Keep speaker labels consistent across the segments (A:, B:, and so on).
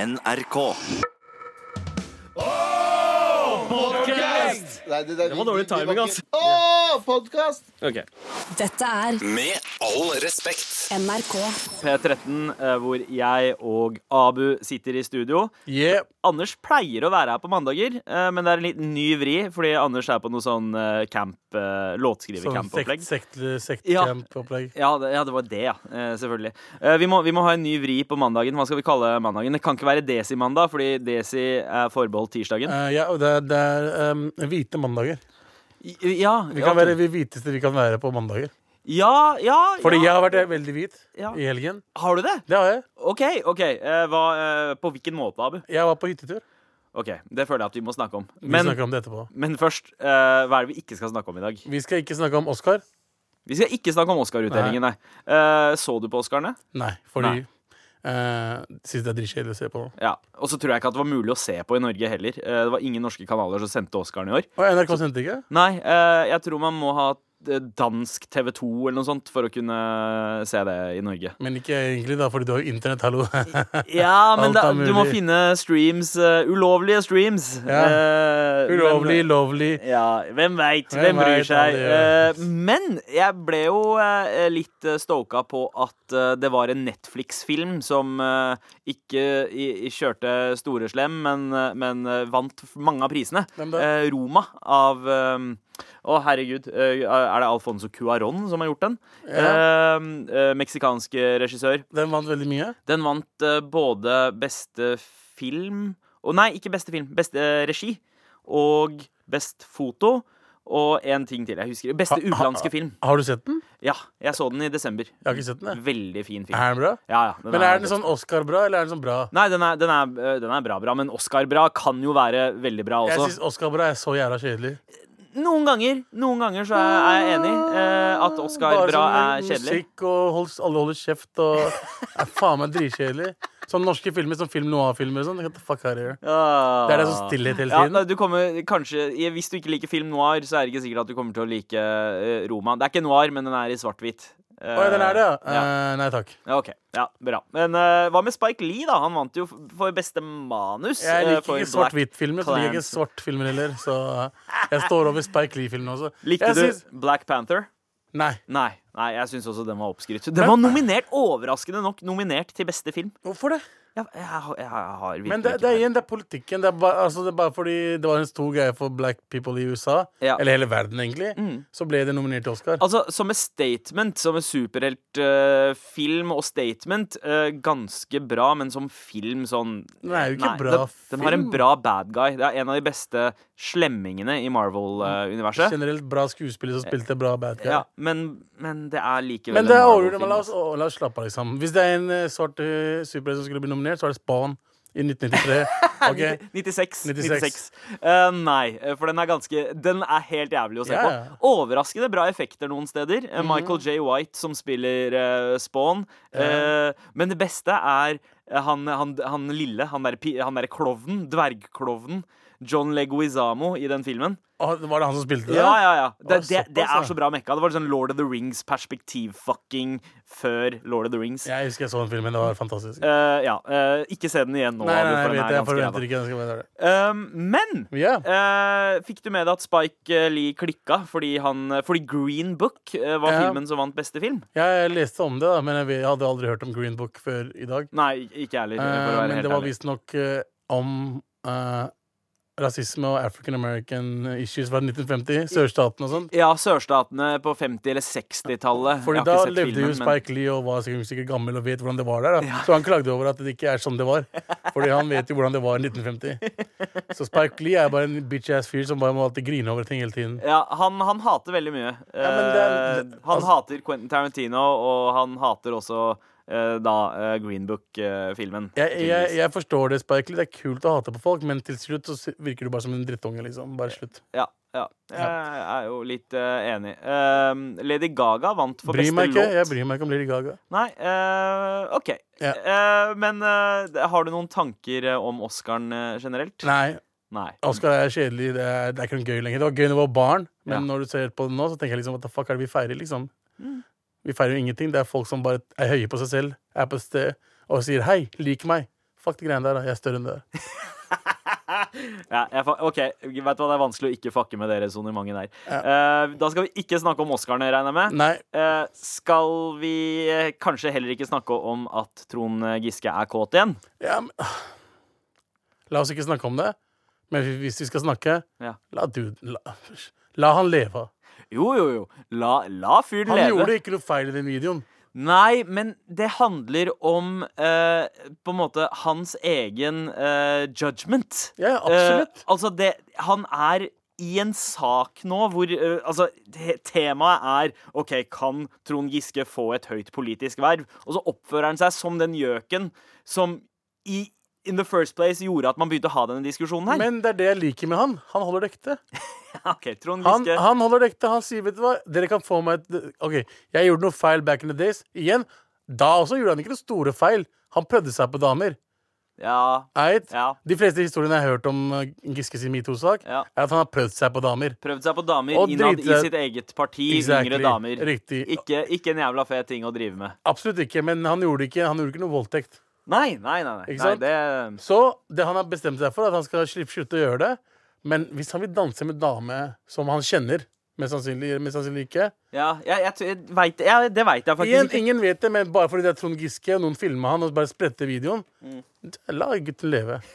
A: NRK.
B: Nei, det, det,
C: var dårlig timing, ass.
B: Åh, podkast!
C: Ok.
D: Dette er
A: Med all respekt.
D: NRK.
C: P13, eh, hvor jeg og Abu sitter i studio.
E: Yeah.
C: Anders pleier å være her på mandager, eh, men det er en liten ny vri, fordi Anders er på noe sånn eh, camp, eh,
E: Sånn
C: låtskrivercamp-opplegg.
E: sekt, sekt,
C: Ja.
E: sektcamp-opplegg.
C: Ja det, ja, det var det, ja. Eh, selvfølgelig. Eh, vi, må, vi må ha en ny vri på mandagen. Hva skal vi kalle mandagen? Det kan ikke være Desi-mandag, fordi Desi er forbeholdt tirsdagen.
E: Eh, ja, og det er, det er ehm, hvite mandager.
C: I- Ja,
E: Vi kan
C: ja,
E: være de hviteste vi kan være på mandager.
C: Ja, ja,
E: Fordi jeg
C: ja.
E: har vært eh, veldig hvit
C: Ja.
E: i helgen.
C: Har du det?
E: Det har jeg.
C: OK, OK. Eh, hva, eh, på hvilken måte, Abu?
E: Jeg var på hyttetur.
C: Ok, Det føler jeg at vi må snakke om.
E: Vi
C: Men,
E: snakker om det etterpå.
C: men først, eh, hva er det vi ikke skal snakke om i dag?
E: Vi skal ikke snakke om Oscar.
C: Vi skal ikke snakke om Oscar-utdelingen, nei. Eh, så du på Oscarene?
E: Nei, fordi eh, Synes det er dritkjedelig å se på nå.
C: Ja. Og så tror jeg ikke at det var mulig å se på i Norge heller. Eh, det var ingen norske kanaler som sendte Oscaren i år.
E: Og NRK sendte ikke?
C: Nei, eh, jeg tror man må ha eh, dansk TV 2 eller noe sånt for å kunne eh, se det i Norge.
E: Men ikke egentlig, da, fordi du har jo internett, hallo.
C: Ja, men
E: men Alt
C: da,
E: er
C: du må
E: mulig.
C: finne streams. eh, ulovlige streams. Eh, men-
E: Ulovlig, lovlig.
C: Ja, hvem veit?
E: Hvem
C: Hvem bryr
E: vet, alle
C: seg?
E: gjør det.
C: Eh, Men jeg ble jo eh, litt eh, stoka på at eh, det var en Netflix-film som eh, ikke i- i kjørte store slem, men, eh, men eh, vant f- mange av prisene.
E: Hvem da?
C: Eh, Roma av eh, Å, herregud. eh, Er det Alfonso Cuaron som har gjort den?
E: Ja.
C: Eh, eh, Meksikansk regissør.
E: Den vant veldig mye.
C: Den vant eh, både beste film Å nei, ikke beste film. Beste eh, regi. Og best foto. Og en ting til. jeg husker Beste
E: Ha- ha-
C: utenlandske film.
E: Har du sett den?
C: Ja, jeg så den i desember.
E: Jeg har ikke sett den, jeg.
C: Veldig fin film.
E: Er den bra?
C: Ja, ja,
E: Men er den sånn Oscar-bra, eller er den sånn bra?
C: Nei, den er, den, er, eh, den er bra, bra. Men Oscar-bra kan jo være veldig bra
E: Jeg
C: også.
E: syns Oscar-bra er så jævla kjedelig.
C: Noen ganger noen ganger så er er jeg enig eh, at Oscar-bra
E: Bare
C: er
E: sånn
C: kjedelig.
E: Musikk og hold, alle holder kjeft og er faen meg dritkjedelig. Sånn norske filmer som Film Noir-filmer og sånn. Get the fuck out of here.
C: Ah.
E: Det er det som stillhet hele
C: Ja,
E: tiden.
C: nei, du kommer, kanskje, i- hvis du ikke liker film noir, så er det ikke sikkert at du kommer til å like eh, Roma. Det er ikke noir, men den er i svart-hvitt.
E: Å ja, den er det, ja.
C: ja.
E: Eh, nei takk.
C: Ja, Ok, ja, bra. Men eh, hva med Spike Lee, da? Han vant jo f- for beste manus. eh,
E: Jeg liker
C: for
E: ikke
C: Black
E: svart-hvitt-filmer, så liker jeg ikke
C: Clans.
E: svart-filmer heller. Så eh, jeg står over Spike Lee-filmene også.
C: Likte
E: Jeg
C: du
E: syns-
C: Black Panther?
E: Nei.
C: Nei, nei jeg syns også den var oppskrytt. Den var nominert, overraskende nok, nominert til beste film.
E: Hvorfor det?
C: Jeg, jeg, har- jeg har virkelig
E: Men det,
C: ikke
E: det er
C: peiling.
E: igjen, det er politikken. Det er, bare, altså, det er bare fordi det var en stor greie for black people i USA,
C: Ja. Mm.
E: eller hele verden egentlig, så ble det nominert til Oscar.
C: Altså, som et statement, som en superheltfilm og statement, eh, ganske bra, men som film sånn
E: Den er jo ikke
C: Nei,
E: bra
C: den, den har en
E: film.
C: bra bad guy. Det er en av de beste slemmingene i Marvel-universet.
E: Generelt bra skuespillere som spilte bra bad guy.
C: Eh. ja, men, men det er likevel
E: Men det er
C: en
E: overgjort, men
C: Marvel-film,
E: la oss, å, la oss slappe av, liksom. Hvis det er en eh, svart eh, superhelt som skulle bli nominert, så er det Spawn i 1993.
C: altså.
E: Ok?
C: 96. 96.
E: 96.
C: Eh, nei, eh, for den er ganske Den er helt jævlig å se
E: Ja, ja. Mhm.
C: på. Overraskende bra effekter noen steder. Eh, Michael J. White som spiller eh, Spawn. Eh, men det beste er eh, han, han, han lille, han derre der klovnen, dvergklovnen. John Leguizamo i den filmen.
E: Å, var det han som spilte det?
C: Ja, ja, ja. Det,
E: Å,
C: det, det
E: såpass, ja.
C: er så bra mekka. Det var sånn Lord of the Rings-perspektivfucking før Lord of the Rings.
E: Jeg husker jeg så den filmen. Det var fantastisk. Nei,
C: Eh, ja. eh, ikke se den igjen nå.
E: nei,
C: Abu,
E: nei,
C: for
E: jeg
C: den er
E: vet det. Jeg
C: ganske jævla.
E: forventer ikke den skal være det.
C: Um, men
E: Ja.
C: eh, fikk du med deg at Spike eh, Lee klikka fordi, han, eh, fordi Green Book eh, var
E: Ja.
C: filmen som vant beste film?
E: Jeg leste om det, da, men jeg vet- jeg hadde aldri hørt om Green Book før i dag.
C: Nei, ikke jeg heller.
E: Eh,
C: for å være
E: men
C: helt
E: det var
C: ærlig.
E: visstnok uh, om eh, rasisme og African American issues fra 1950. Sørstaten og sånn.
C: Ja, sørstatene på 50- eller 60-tallet.
E: Fordi
C: Jeg
E: da
C: har ikke sett
E: levde jo
C: filmen, men-
E: Spike Lee og var sikkert, sikkert gammel og vet hvordan det var der. Da. Så han klagde over at det ikke er sånn det var. Fordi han vet jo hvordan det var i 1950. Så Spike Lee er bare en bitch-ass fyr som bare må alltid grine over ting hele tiden.
C: Ja, han, han hater veldig mye.
E: men
C: Eh,
E: det er-
C: han
E: altså-
C: hater Quentin Tarantino, og han hater også eh, da eh, Green Book-filmen.
E: Jeg, jeg, jeg forstår det, Spike Lee. Det er kult å hate på folk, men til slutt så virker du bare som en drittunge, liksom. Bare slutt.
C: Ja, ja. Jeg er jo litt eh, enig. Eh, Lady Gaga vant for
E: Bryr
C: beste
E: meg ikke.
C: låt.
E: Jeg bryr meg ikke om Lady Gaga.
C: Nei, eh, OK.
E: Ja.
C: Eh, men eh, har du noen tanker eh, om Oscaren eh, generelt?
E: Nei,
C: Nei.
E: Oscar er kjedelig. Det er, det er ikke noe gøy lenger. Det var gøy da jeg var barn, men
C: Ja. Mm.
E: når du ser på det nå, så tenker jeg liksom what the fuck er det vi feirer, liksom? Vi feirer jo ingenting. Det er folk som bare er høye på seg selv, er på et sted og sier hei, lik meg. Fuck de greiene der, da. Jeg er større enn det der.
C: Ja, jeg, fa- ok, vet du hva, Det er vanskelig å ikke fucke med det resonnementet der. Eh, da skal vi ikke snakke om Oscarene, regner jeg med.
E: Nei.
C: Eh, skal vi eh, kanskje heller ikke snakke om at Trond eh, Giske er kåt igjen?
E: Ja, men La oss ikke snakke om det. Men hvis vi skal snakke,
C: Ja.
E: la duden La, la han leve.
C: Jo, jo, jo. La, la fyren
E: Han
C: leve.
E: gjorde ikke noe feil i den videoen.
C: Nei, men det handler om eh, på en måte hans egen eh, judgment.
E: Ja, absolutt.
C: Eh, altså, det Han er i en sak nå hvor eh, Altså, te temaet er OK, kan Trond Giske få et høyt politisk verv? Og så oppfører han seg som den gjøken som i In the first place gjorde at man begynte å ha denne diskusjonen her.
E: Men det er det jeg liker med han. Han holder det ekte.
C: OK, Trond
E: Han,
C: Giske.
E: han holder det ekte. Han sier, vet du hva, dere kan få meg et OK, jeg gjorde noe feil back in the days. Igjen. Da også gjorde han ikke noe store feil. Han prøvde seg på damer.
C: Ja.
E: Eit?
C: Ja.
E: De fleste historiene jeg har hørt om eh, Giske sin metoo-sak,
C: Ja.
E: er at han har prøvd seg på damer.
C: Prøvd seg på damer
E: Og
C: innad i
E: drite-
C: sitt eget parti.
E: Exactly.
C: Yngre damer.
E: Riktig.
C: Ikke, ikke en jævla fet ting å drive med.
E: Absolutt ikke, men han gjorde ikke, han gjorde ikke noe voldtekt.
C: Nei, nei, nei. nei.
E: Ikke
C: nei
E: sant?
C: det,
E: Så det han har bestemt seg for, at han skal slippe slutte å gjøre det. Men hvis han vil danse med dame som han kjenner, mest sannsynlig, mest sannsynlig ikke
C: ja, jeg, jeg, tror- jeg vet, ja, det veit jeg faktisk
E: Igjen,
C: ikke.
E: Ingen vet det, men bare fordi det er Trond Giske og noen filmer han og bare spretter videoen
C: Mm.
E: La gutten leve.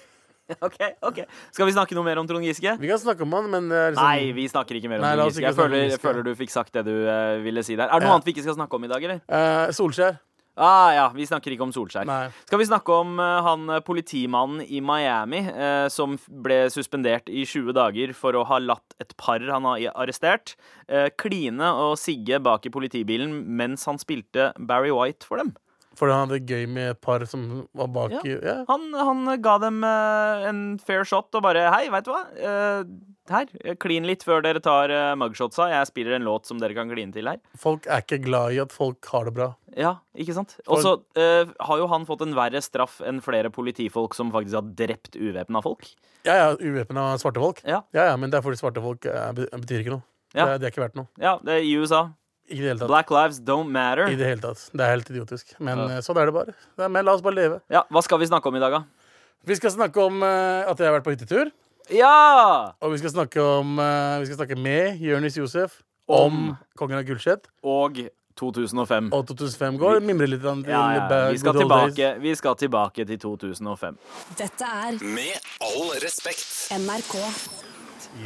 C: Ok, ok Skal vi snakke noe mer om Trond Giske?
E: Vi kan snakke om han, men det er liksom,
C: Nei, vi snakker ikke mer om
E: Nei, la
C: Trond
E: oss
C: Giske.
E: ikke
C: Jeg
E: snakke om
C: føler,
E: Giske.
C: føler du fikk sagt det du eh, ville si der. Er det noe
E: Ja.
C: annet vi ikke skal snakke om i dag, eller?
E: Eh, Solskjær.
C: Ah, ja, vi snakker ikke om Solskjær.
E: Nei.
C: Skal vi snakke om eh, han eh, politimannen i Miami eh, som f- ble suspendert i 20 dager for å ha latt et par han har i- arrestert, eh, kline og sigge bak i politibilen mens han spilte Barry White for dem?
E: Fordi han hadde det gøy med et par som var bak
C: Ja.
E: i ja.
C: Han, han ga dem eh, en fair shot og bare Hei, veit du hva? Eh, her, klin litt før dere tar eh, mugshotsa. Jeg spiller en låt som dere kan kline til her.
E: Folk er ikke glad i at folk har det bra.
C: Ja, ikke sant? Og så eh, har jo han fått en verre straff enn flere politifolk som faktisk har drept uvæpna folk.
E: Ja, ja, uvæpna svarte folk.
C: Ja.
E: ja, ja, Men det er fordi svarte folk eh, be- betyr ikke noe.
C: Ja.
E: Det, er, det er ikke verdt noe.
C: Ja, det er i USA.
E: Ikke i det hele tatt.
C: Black lives don't matter.
E: I det hele tatt. Det er helt idiotisk. Men
C: Ja.
E: eh, sånn er det bare. Det er, men la oss bare leve.
C: Ja, Hva skal vi snakke om i dag, da?
E: Vi skal snakke om eh, at jeg har vært på hyttetur.
C: Ja!
E: Og vi skal snakke om eh, Vi skal snakke med Jonis Josef om Kongen av Gulset.
C: Og 2005.
E: Og 2005 går. Mimre litt grann til
C: Ja, ja.
E: ba-
C: Vi, skal
E: good old
C: tilbake, vi skal tilbake til 2005.
B: Dette er
A: Med all respekt.
B: NRK.
E: days.
C: Og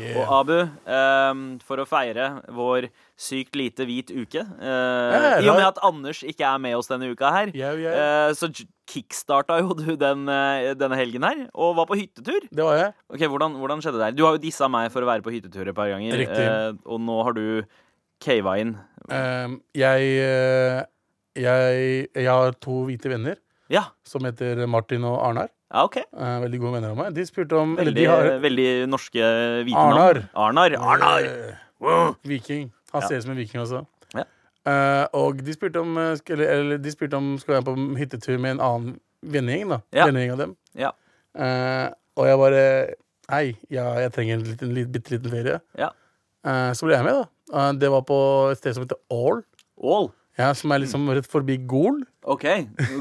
E: Yeah.
C: Abu, ehm, for å feire vår sykt lite hvit uke eh,
E: Ja,
C: I og med
E: da-
C: at Anders ikke er med oss denne uka her,
E: Ja, ja.
C: eh, så j- kickstarta jo du den, eh, denne helgen her, og var på hyttetur.
E: Det var jeg.
C: Ok, hvordan, hvordan skjedde det? her? Du har jo dissa meg for å være på hyttetur et par ganger,
E: Riktig.
C: eh, og nå har du cava inn.
E: Ehm, jeg, eh, jeg Jeg har to hvite venner
C: Ja,
E: som heter Martin og Arnar.
C: ja OK.
E: Eh, veldig gode venner av meg. De spurte om eller
C: Veldig, eh,
E: de har,
C: veldig norske hvite
E: Arnar.
C: navn. Arnar. Arnar.
E: Eh, Viking. Han ser ut som en viking også.
C: Ja.
E: Eh, og de spurte om eh, skulle, eller de spurte om skulle være på hyttetur med en annen vennegjeng. da
C: Ja.
E: Vennegjeng av dem
C: Ja.
E: Eh, Og jeg bare Hei, ja, jeg trenger en liten, li- bitte liten ferie.
C: ja.
E: Eh, så ble jeg med, da. Eh, det var på et sted som heter Ål.
C: Ål.
E: Ja, som er liksom rett forbi Gol.
C: OK.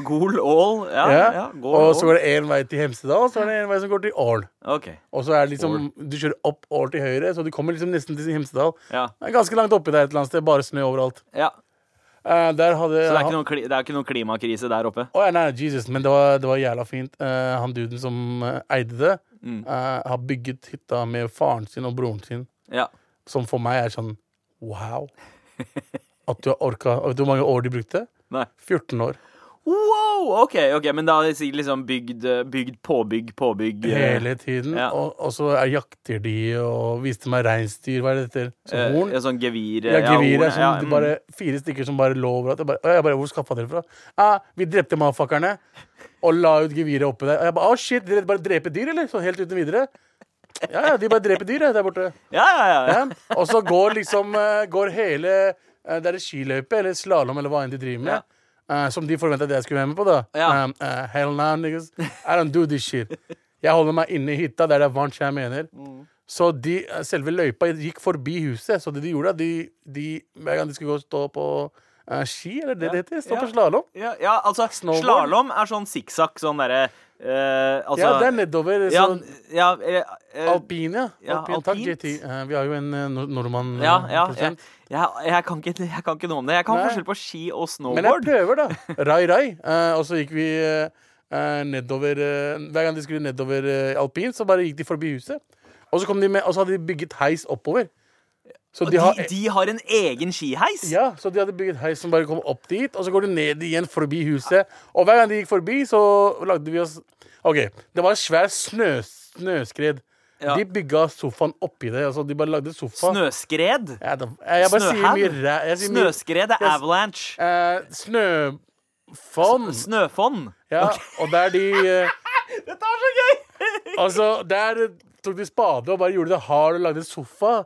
C: Gol ål. Ja, ja.
E: Ja.
C: Gol
E: og så
C: ål.
E: går det én vei til Hemsedal, og så er det én vei som går til Ål.
C: OK.
E: Og så er det liksom, Du kjører opp Ål til høyre, så du kommer liksom nesten til Hemsedal.
C: Ja.
E: Det er ganske langt oppi der et eller annet sted. Bare snø overalt.
C: ja.
E: Eh, der hadde
C: Så det er, ikke noen, kli- det er ikke noen klimakrise der oppe?
E: Å, ja, nei, Jesus, men det var, det var jævla fint. Eh, han duden som eh, eide det, eh, har bygget hytta med faren sin og broren sin,
C: Ja.
E: som for meg er sånn wow. At du har orka og Vet du hvor mange år de brukte?
C: Nei.
E: 14 år.
C: Wow! OK, ok, men da har de sikkert liksom bygd, eh, bygd påbygg, påbygg eh,
E: Hele tiden.
C: ja.
E: Og, og så er jakter de og viste meg reinsdyr. Hva er det dette?
C: eh,
E: Som horn?
C: ja, sånn gevir. eh,
E: Ja, gevir
C: horn,
E: er
C: ja,
E: sånn, det
C: mm.
E: er bare fire stykker som bare lå overalt. Jeg bare, og jeg bare hvor skaffa dere fra? Ah, vi drepte motherfuckerne og la ut geviret oppe der. Og jeg bare, å shit, dere bare dreper dyr, eller? Sånn helt uten videre. Ja, ja, de bare dreper dyr ja, der borte.
C: Ja, ja, ja. ja.
E: Ja. Og så går liksom eh, går hele eh, Det er skiløype eller slalåm eller hva enn de driver med.
C: Ja.
E: eh, som de forventa at jeg skulle være med på, da.
C: Ja.
E: Um, eh, hell no, niggas. I don't do this shit. Jeg holder meg inne i hytta der det er varmt, som jeg mener.
C: Mm.
E: Så de, eh, selve løypa gikk forbi huset. Så det de gjorde, at de, de hver gang de skulle gå og stå på eh, ski, eller det det heter, stå
C: Ja.
E: på slalåm
C: Ja, ja, altså,
E: Snowboard?
C: slalåm er sånn sikksakk, sånn derre eh, altså,
E: ja, det er sånn nedover.
C: ja,
E: Så
C: ja, eh, eh,
E: alpin, ja.
C: ja,
E: Alpin, takk,
C: alpint.
E: JT. Eh, vi har jo en eh, nor- nordmann. eh,
C: ja, ja, jeg,
E: produsent.
C: jeg, jeg, kan ikke, jeg kan ikke noe om det. Jeg kan
E: Nei.
C: forskjell på ski og
E: Men jeg
C: snowboard.
E: prøver, da. Rai, rai. Eh, og så gikk vi eh, eh, nedover eh, Hver gang de skulle nedover eh, alpin, så bare gikk de forbi huset. Og så, kom de med, og så hadde de bygget heis oppover. Så
C: Og
E: de,
C: de,
E: har,
C: de har en egen skiheis!
E: ja, så de hadde bygget heis som bare kom opp dit, og så går du ned igjen forbi huset. Og hver gang de gikk forbi, så lagde vi oss OK, det var et svært snø, snøskred.
C: Ja.
E: De bygga sofaen oppi det. Altså, de bare lagde sofa.
C: Snøskred.
E: Ja, da- jeg bare
C: Snøhaug.
E: sier mye ræ... jeg sier mye-
C: Snøskred er
E: Jeg-
C: avalanche.
E: Eh, Snøfonn.
C: Snøfonn.
E: Ja, og der de eh,
C: Dette er så gøy!
E: Altså, der tok de spade og bare gjorde det hard og lagde en sofa.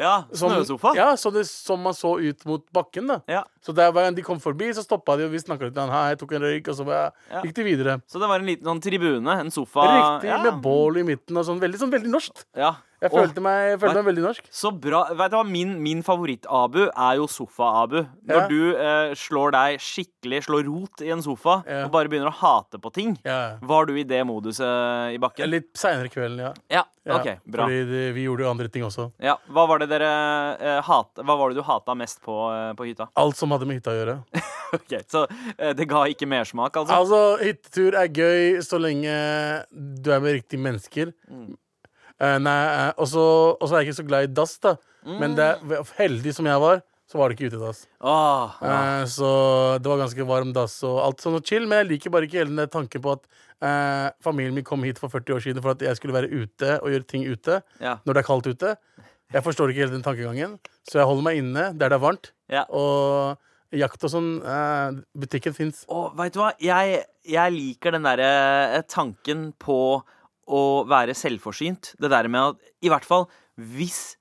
C: Ja, snøsofa.
E: Sånn- Ja, så det, som man så ut mot bakken, da.
C: Ja.
E: Så der hver gang de kom forbi, så stoppa de, og vi snakka litt med han. Hei, jeg tok en røyk, og så bare,
C: Ja.
E: gikk de videre.
C: Så det var en liten sånn tribune, en sofa.
E: Riktig,
C: ja.
E: med bål i midten og sånn. Veldig, sånn, veldig norsk.
C: Ja.
E: Jeg
C: Åh,
E: følte, meg, jeg følte meg veldig norsk.
C: Så bra. Vet du hva, Min, min favoritt-Abu er jo sofa-Abu. Når
E: Ja.
C: du eh, slår deg skikkelig, slår rot i en sofa
E: Ja.
C: og bare begynner å hate på ting.
E: Ja.
C: Var du i det moduset eh, i bakken?
E: Litt seinere kvelden, ja.
C: Ja,
E: ja.
C: ok, bra.
E: Fordi de, vi gjorde jo andre ting også.
C: Ja. Hva var det dere eh, hat, Hva var det du hata mest på, eh, på hytta?
E: Alt som hadde med hytta å gjøre.
C: Ok, Så eh, det ga ikke mersmak, altså?
E: Altså, hyttetur er gøy så lenge du er med riktige mennesker. Eh, nei, eh, og så og så er jeg ikke så glad i dass, da. Men det, er- heldig som jeg var, så var det ikke utedass.
C: Åh,
E: Eh, så det var ganske varm dass og alt sånn og chill. Men jeg liker bare ikke hele den der tanken på at eh, familien min kom hit for 40 år siden for at jeg skulle være ute og gjøre ting ute
C: ja.
E: når det er kaldt ute. Jeg forstår ikke hele den tankegangen, så jeg holder meg inne der det er varmt.
C: ja.
E: Og jakt og sånn eh, Butikken fins.
C: Og vet du hva? Jeg, jeg liker den derre eh, tanken på å være selvforsynt. Det der med at I hvert fall hvis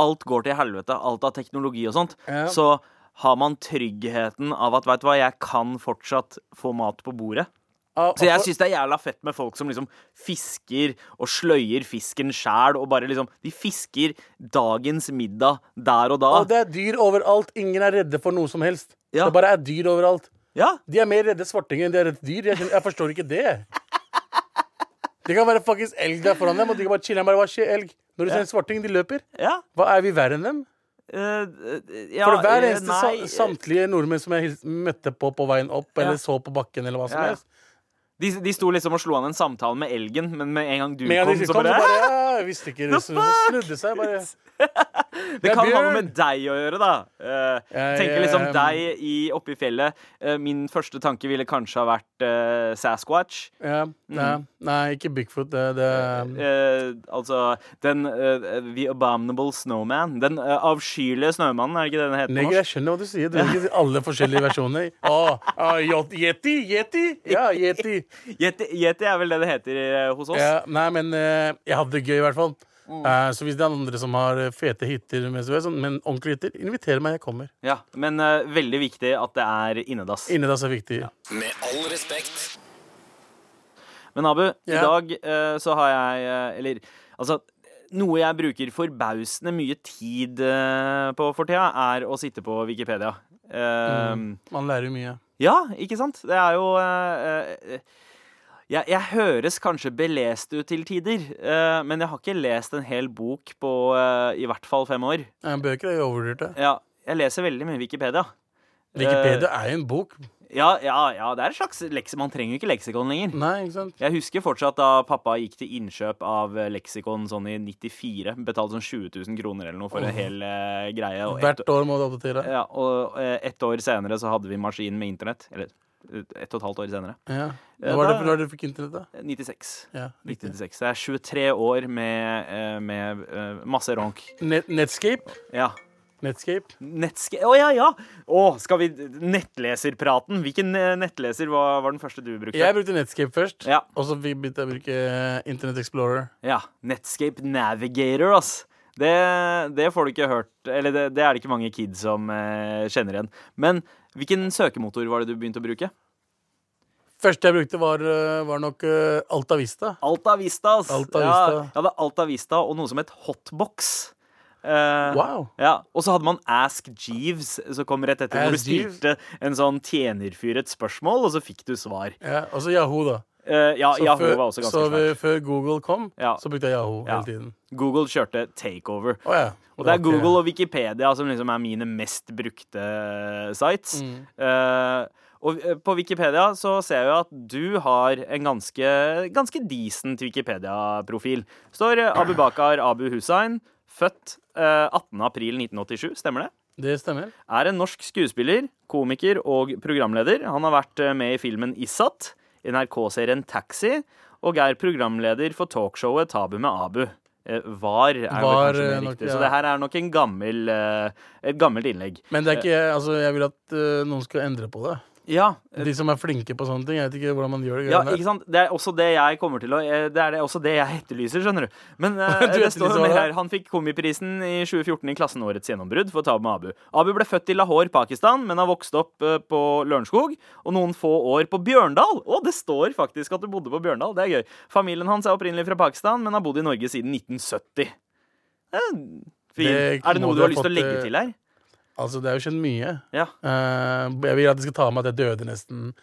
C: alt går til helvete, alt av teknologi og sånt,
E: Ja.
C: så har man tryggheten av at veit du hva, jeg kan fortsatt få mat på bordet. Så jeg syns det er jævla fett med folk som liksom fisker og sløyer fisken sjæl, og bare liksom De fisker dagens middag der og da.
E: Og det er dyr overalt. Ingen er redde for noe som helst.
C: Ah. Ja.
E: Det bare er dyr overalt.
C: Ja,
E: De er mer redde svartinger enn de er redde dyr. Jeg, skjønner- jeg forstår ikke det. Det kan være faktisk elg der foran dem, og de kan bare chille. Bare, Hva skjer, elg? Når du ser en svarting, de løper.
C: ja.
E: Hva Er vi verre enn dem?
C: eh, eh, ja
E: For hver
C: eh,
E: eneste sa-
C: nei, eh,
E: samtlige nordmenn som jeg hils- møtte på på veien opp,
C: Ja.
E: eller så på bakken, eller hva som
C: Ja, ja.
E: helst
C: De, de sto liksom og slo an en samtale med elgen, men med en gang du
E: Men
C: kom,
E: jeg,
C: så bare,
E: bare ja, jeg visste ikke
C: The
E: det. Så det snudde seg bare.
C: Det kan ha noe
E: bjørn!»
C: med deg å gjøre, da. Eh,
E: Jeg,
C: tenker liksom
E: eh,
C: deg i, oppe i fjellet. Eh, min første tanke ville kanskje ha vært eh, Sasquatch.
E: Ja, nei, nei, ikke Bigfoot. Det, det
C: Eh, altså den eh, The Abominable Snowman. Den eh, avskyelige snømannen, er det ikke det den heter? på
E: Neger, jeg skjønner hva du sier. Du vil ikke si alle forskjellige versjoner. Å, å, yet- yeti, yeti! Ja, yeti.
C: norsk? Yeti, Yeti er vel det det heter eh, hos oss?
E: Ja, nei, men eh, jeg hadde det gøy, i hvert fall.
C: Mm.
E: Eh, så hvis det er andre som har eh, fete hytter, med SV, sånn, men ordentlige hytter, inviter meg. Jeg kommer.
C: Ja, Men eh, veldig viktig at det er innedass.
E: Innedass er viktig.
A: Med all respekt.
C: Men Abu, i
E: Ja.
C: dag eh, så har jeg eh, Eller altså noe jeg bruker forbausende mye tid eh, på for tida, er å sitte på Wikipedia. Eh,
E: Man lærer jo mye.
C: Ja, ikke sant? Det er jo eh, eh, jeg, jeg høres kanskje belest ut til tider, eh, men jeg har ikke lest en hel bok på eh, i hvert fall fem år.
E: Eh, bøker er jo overvurderte.
C: Ja, jeg leser veldig mye Wikipedia. Eh,
E: Wikipedia er jo en bok.
C: Ja, ja, ja, det er et slags leksikon. Man trenger jo ikke leksikon lenger.
E: Nei, ikke sant?
C: Jeg husker fortsatt da pappa gikk til innkjøp av eh, leksikon sånn i 94. Betalte sånn 20 000 kroner eller noe for en hel eh, greie. Og ett,
E: Hvert år må du oppdatere.
C: ja, og eh, ett år senere så hadde vi maskin med internett. Eller eh, ett og et halvt år senere.
E: Ja.
C: Ja,
E: Hva var det
C: da-
E: for når du fikk internett, da?
C: Eh, 96.
E: Ja, riktig.
C: 1996. Det er 23 år med, eh, med eh, masse ronk.
E: Net Netscape.
C: Ja.
E: Netscape.
C: Nettske... Å, ja, ja! Å, skal vi Nettleserpraten. Hvilken eh, nettleser var, var den første du brukte?
E: Jeg brukte Netscape først,
C: Ja.
E: og så begynte jeg å bruke eh, Internet Explorer.
C: Ja, Netscape Navigator, ass. Det, det får du ikke hørt Eller det, det er det ikke mange kids som eh, kjenner igjen. Men hvilken søkemotor var det du begynte å bruke?
E: Første jeg brukte, var, øh, var nok øh, Alta Vista.
C: Alta Vista, ass.
E: Alta
C: Ja,
E: Vista.
C: jeg hadde Alta Vista og noe som het Hotbox. Eh,
E: Wow.
C: Ja, Og så hadde man Ask Jeeves, som kom rett etter. Hvor du
E: Ask Jeeves.
C: stilte en sånn tjenerfyr et spørsmål, og så fikk du svar.
E: Ja, og så Yahoo, da.
C: Eh, ja,
E: Så
C: Yahoo
E: før-
C: var også ganske
E: så
C: svært.
E: vi- Før Google kom,
C: Ja.
E: så brukte jeg Yahoo
C: Ja.
E: hele tiden.
C: Google kjørte takeover.
E: Å ja.
C: Og det er
E: var ikke-
C: Google og Wikipedia som liksom er mine mest brukte sites. Eh, og eh, på Wikipedia så ser jeg jo at du har en ganske, ganske decent Wikipedia-profil. Står eh, Abubakar Abu Hussein, født eh, 18. april 1987, stemmer det?
E: Det stemmer.
C: Er en norsk skuespiller, komiker og programleder. Han har vært eh, med i filmen Issat, NRK-serien Taxi, og er programleder for talkshowet Tabu med Abu. Eh, Var, er vel
E: Var,
C: kanskje
E: eh,
C: mer
E: nok,
C: riktig.
E: ja.
C: Så det her er nok en gammel, eh, et gammelt innlegg.
E: Men det er
C: Eh.
E: ikke, altså, jeg vil at øh, noen skal endre på det.
C: Ja,
E: De som er flinke på sånne ting. Jeg vet ikke hvordan man gjør det.
C: Eh. Ja,
E: greiene der.
C: ikke sant? Det er også det jeg kommer til å eh, Det er det, også det jeg etterlyser, skjønner du. Men eh,
E: Du
C: det står
E: etterlyser
C: jo mer
E: hva da?
C: her. Han fikk Komiprisen i 2014 i klassen Årets gjennombrudd for Tabu med Abu. Abu ble født i Lahore, Pakistan, men har vokst opp eh, på Lørenskog og noen få år på Bjørndal. Å, det står faktisk at du bodde på Bjørndal. Det er gøy. Familien hans er opprinnelig fra Pakistan, men har bodd i Norge siden 1970. Eh, fin.
E: Det
C: er det
E: må
C: noe
E: du
C: du har
E: ha
C: lyst til å
E: fått,
C: legge
E: eh,
C: til her?
E: Altså, det er jo skjedd mye.
C: Ja.
E: Eh, jeg vil at de skal ta med at jeg døde nesten.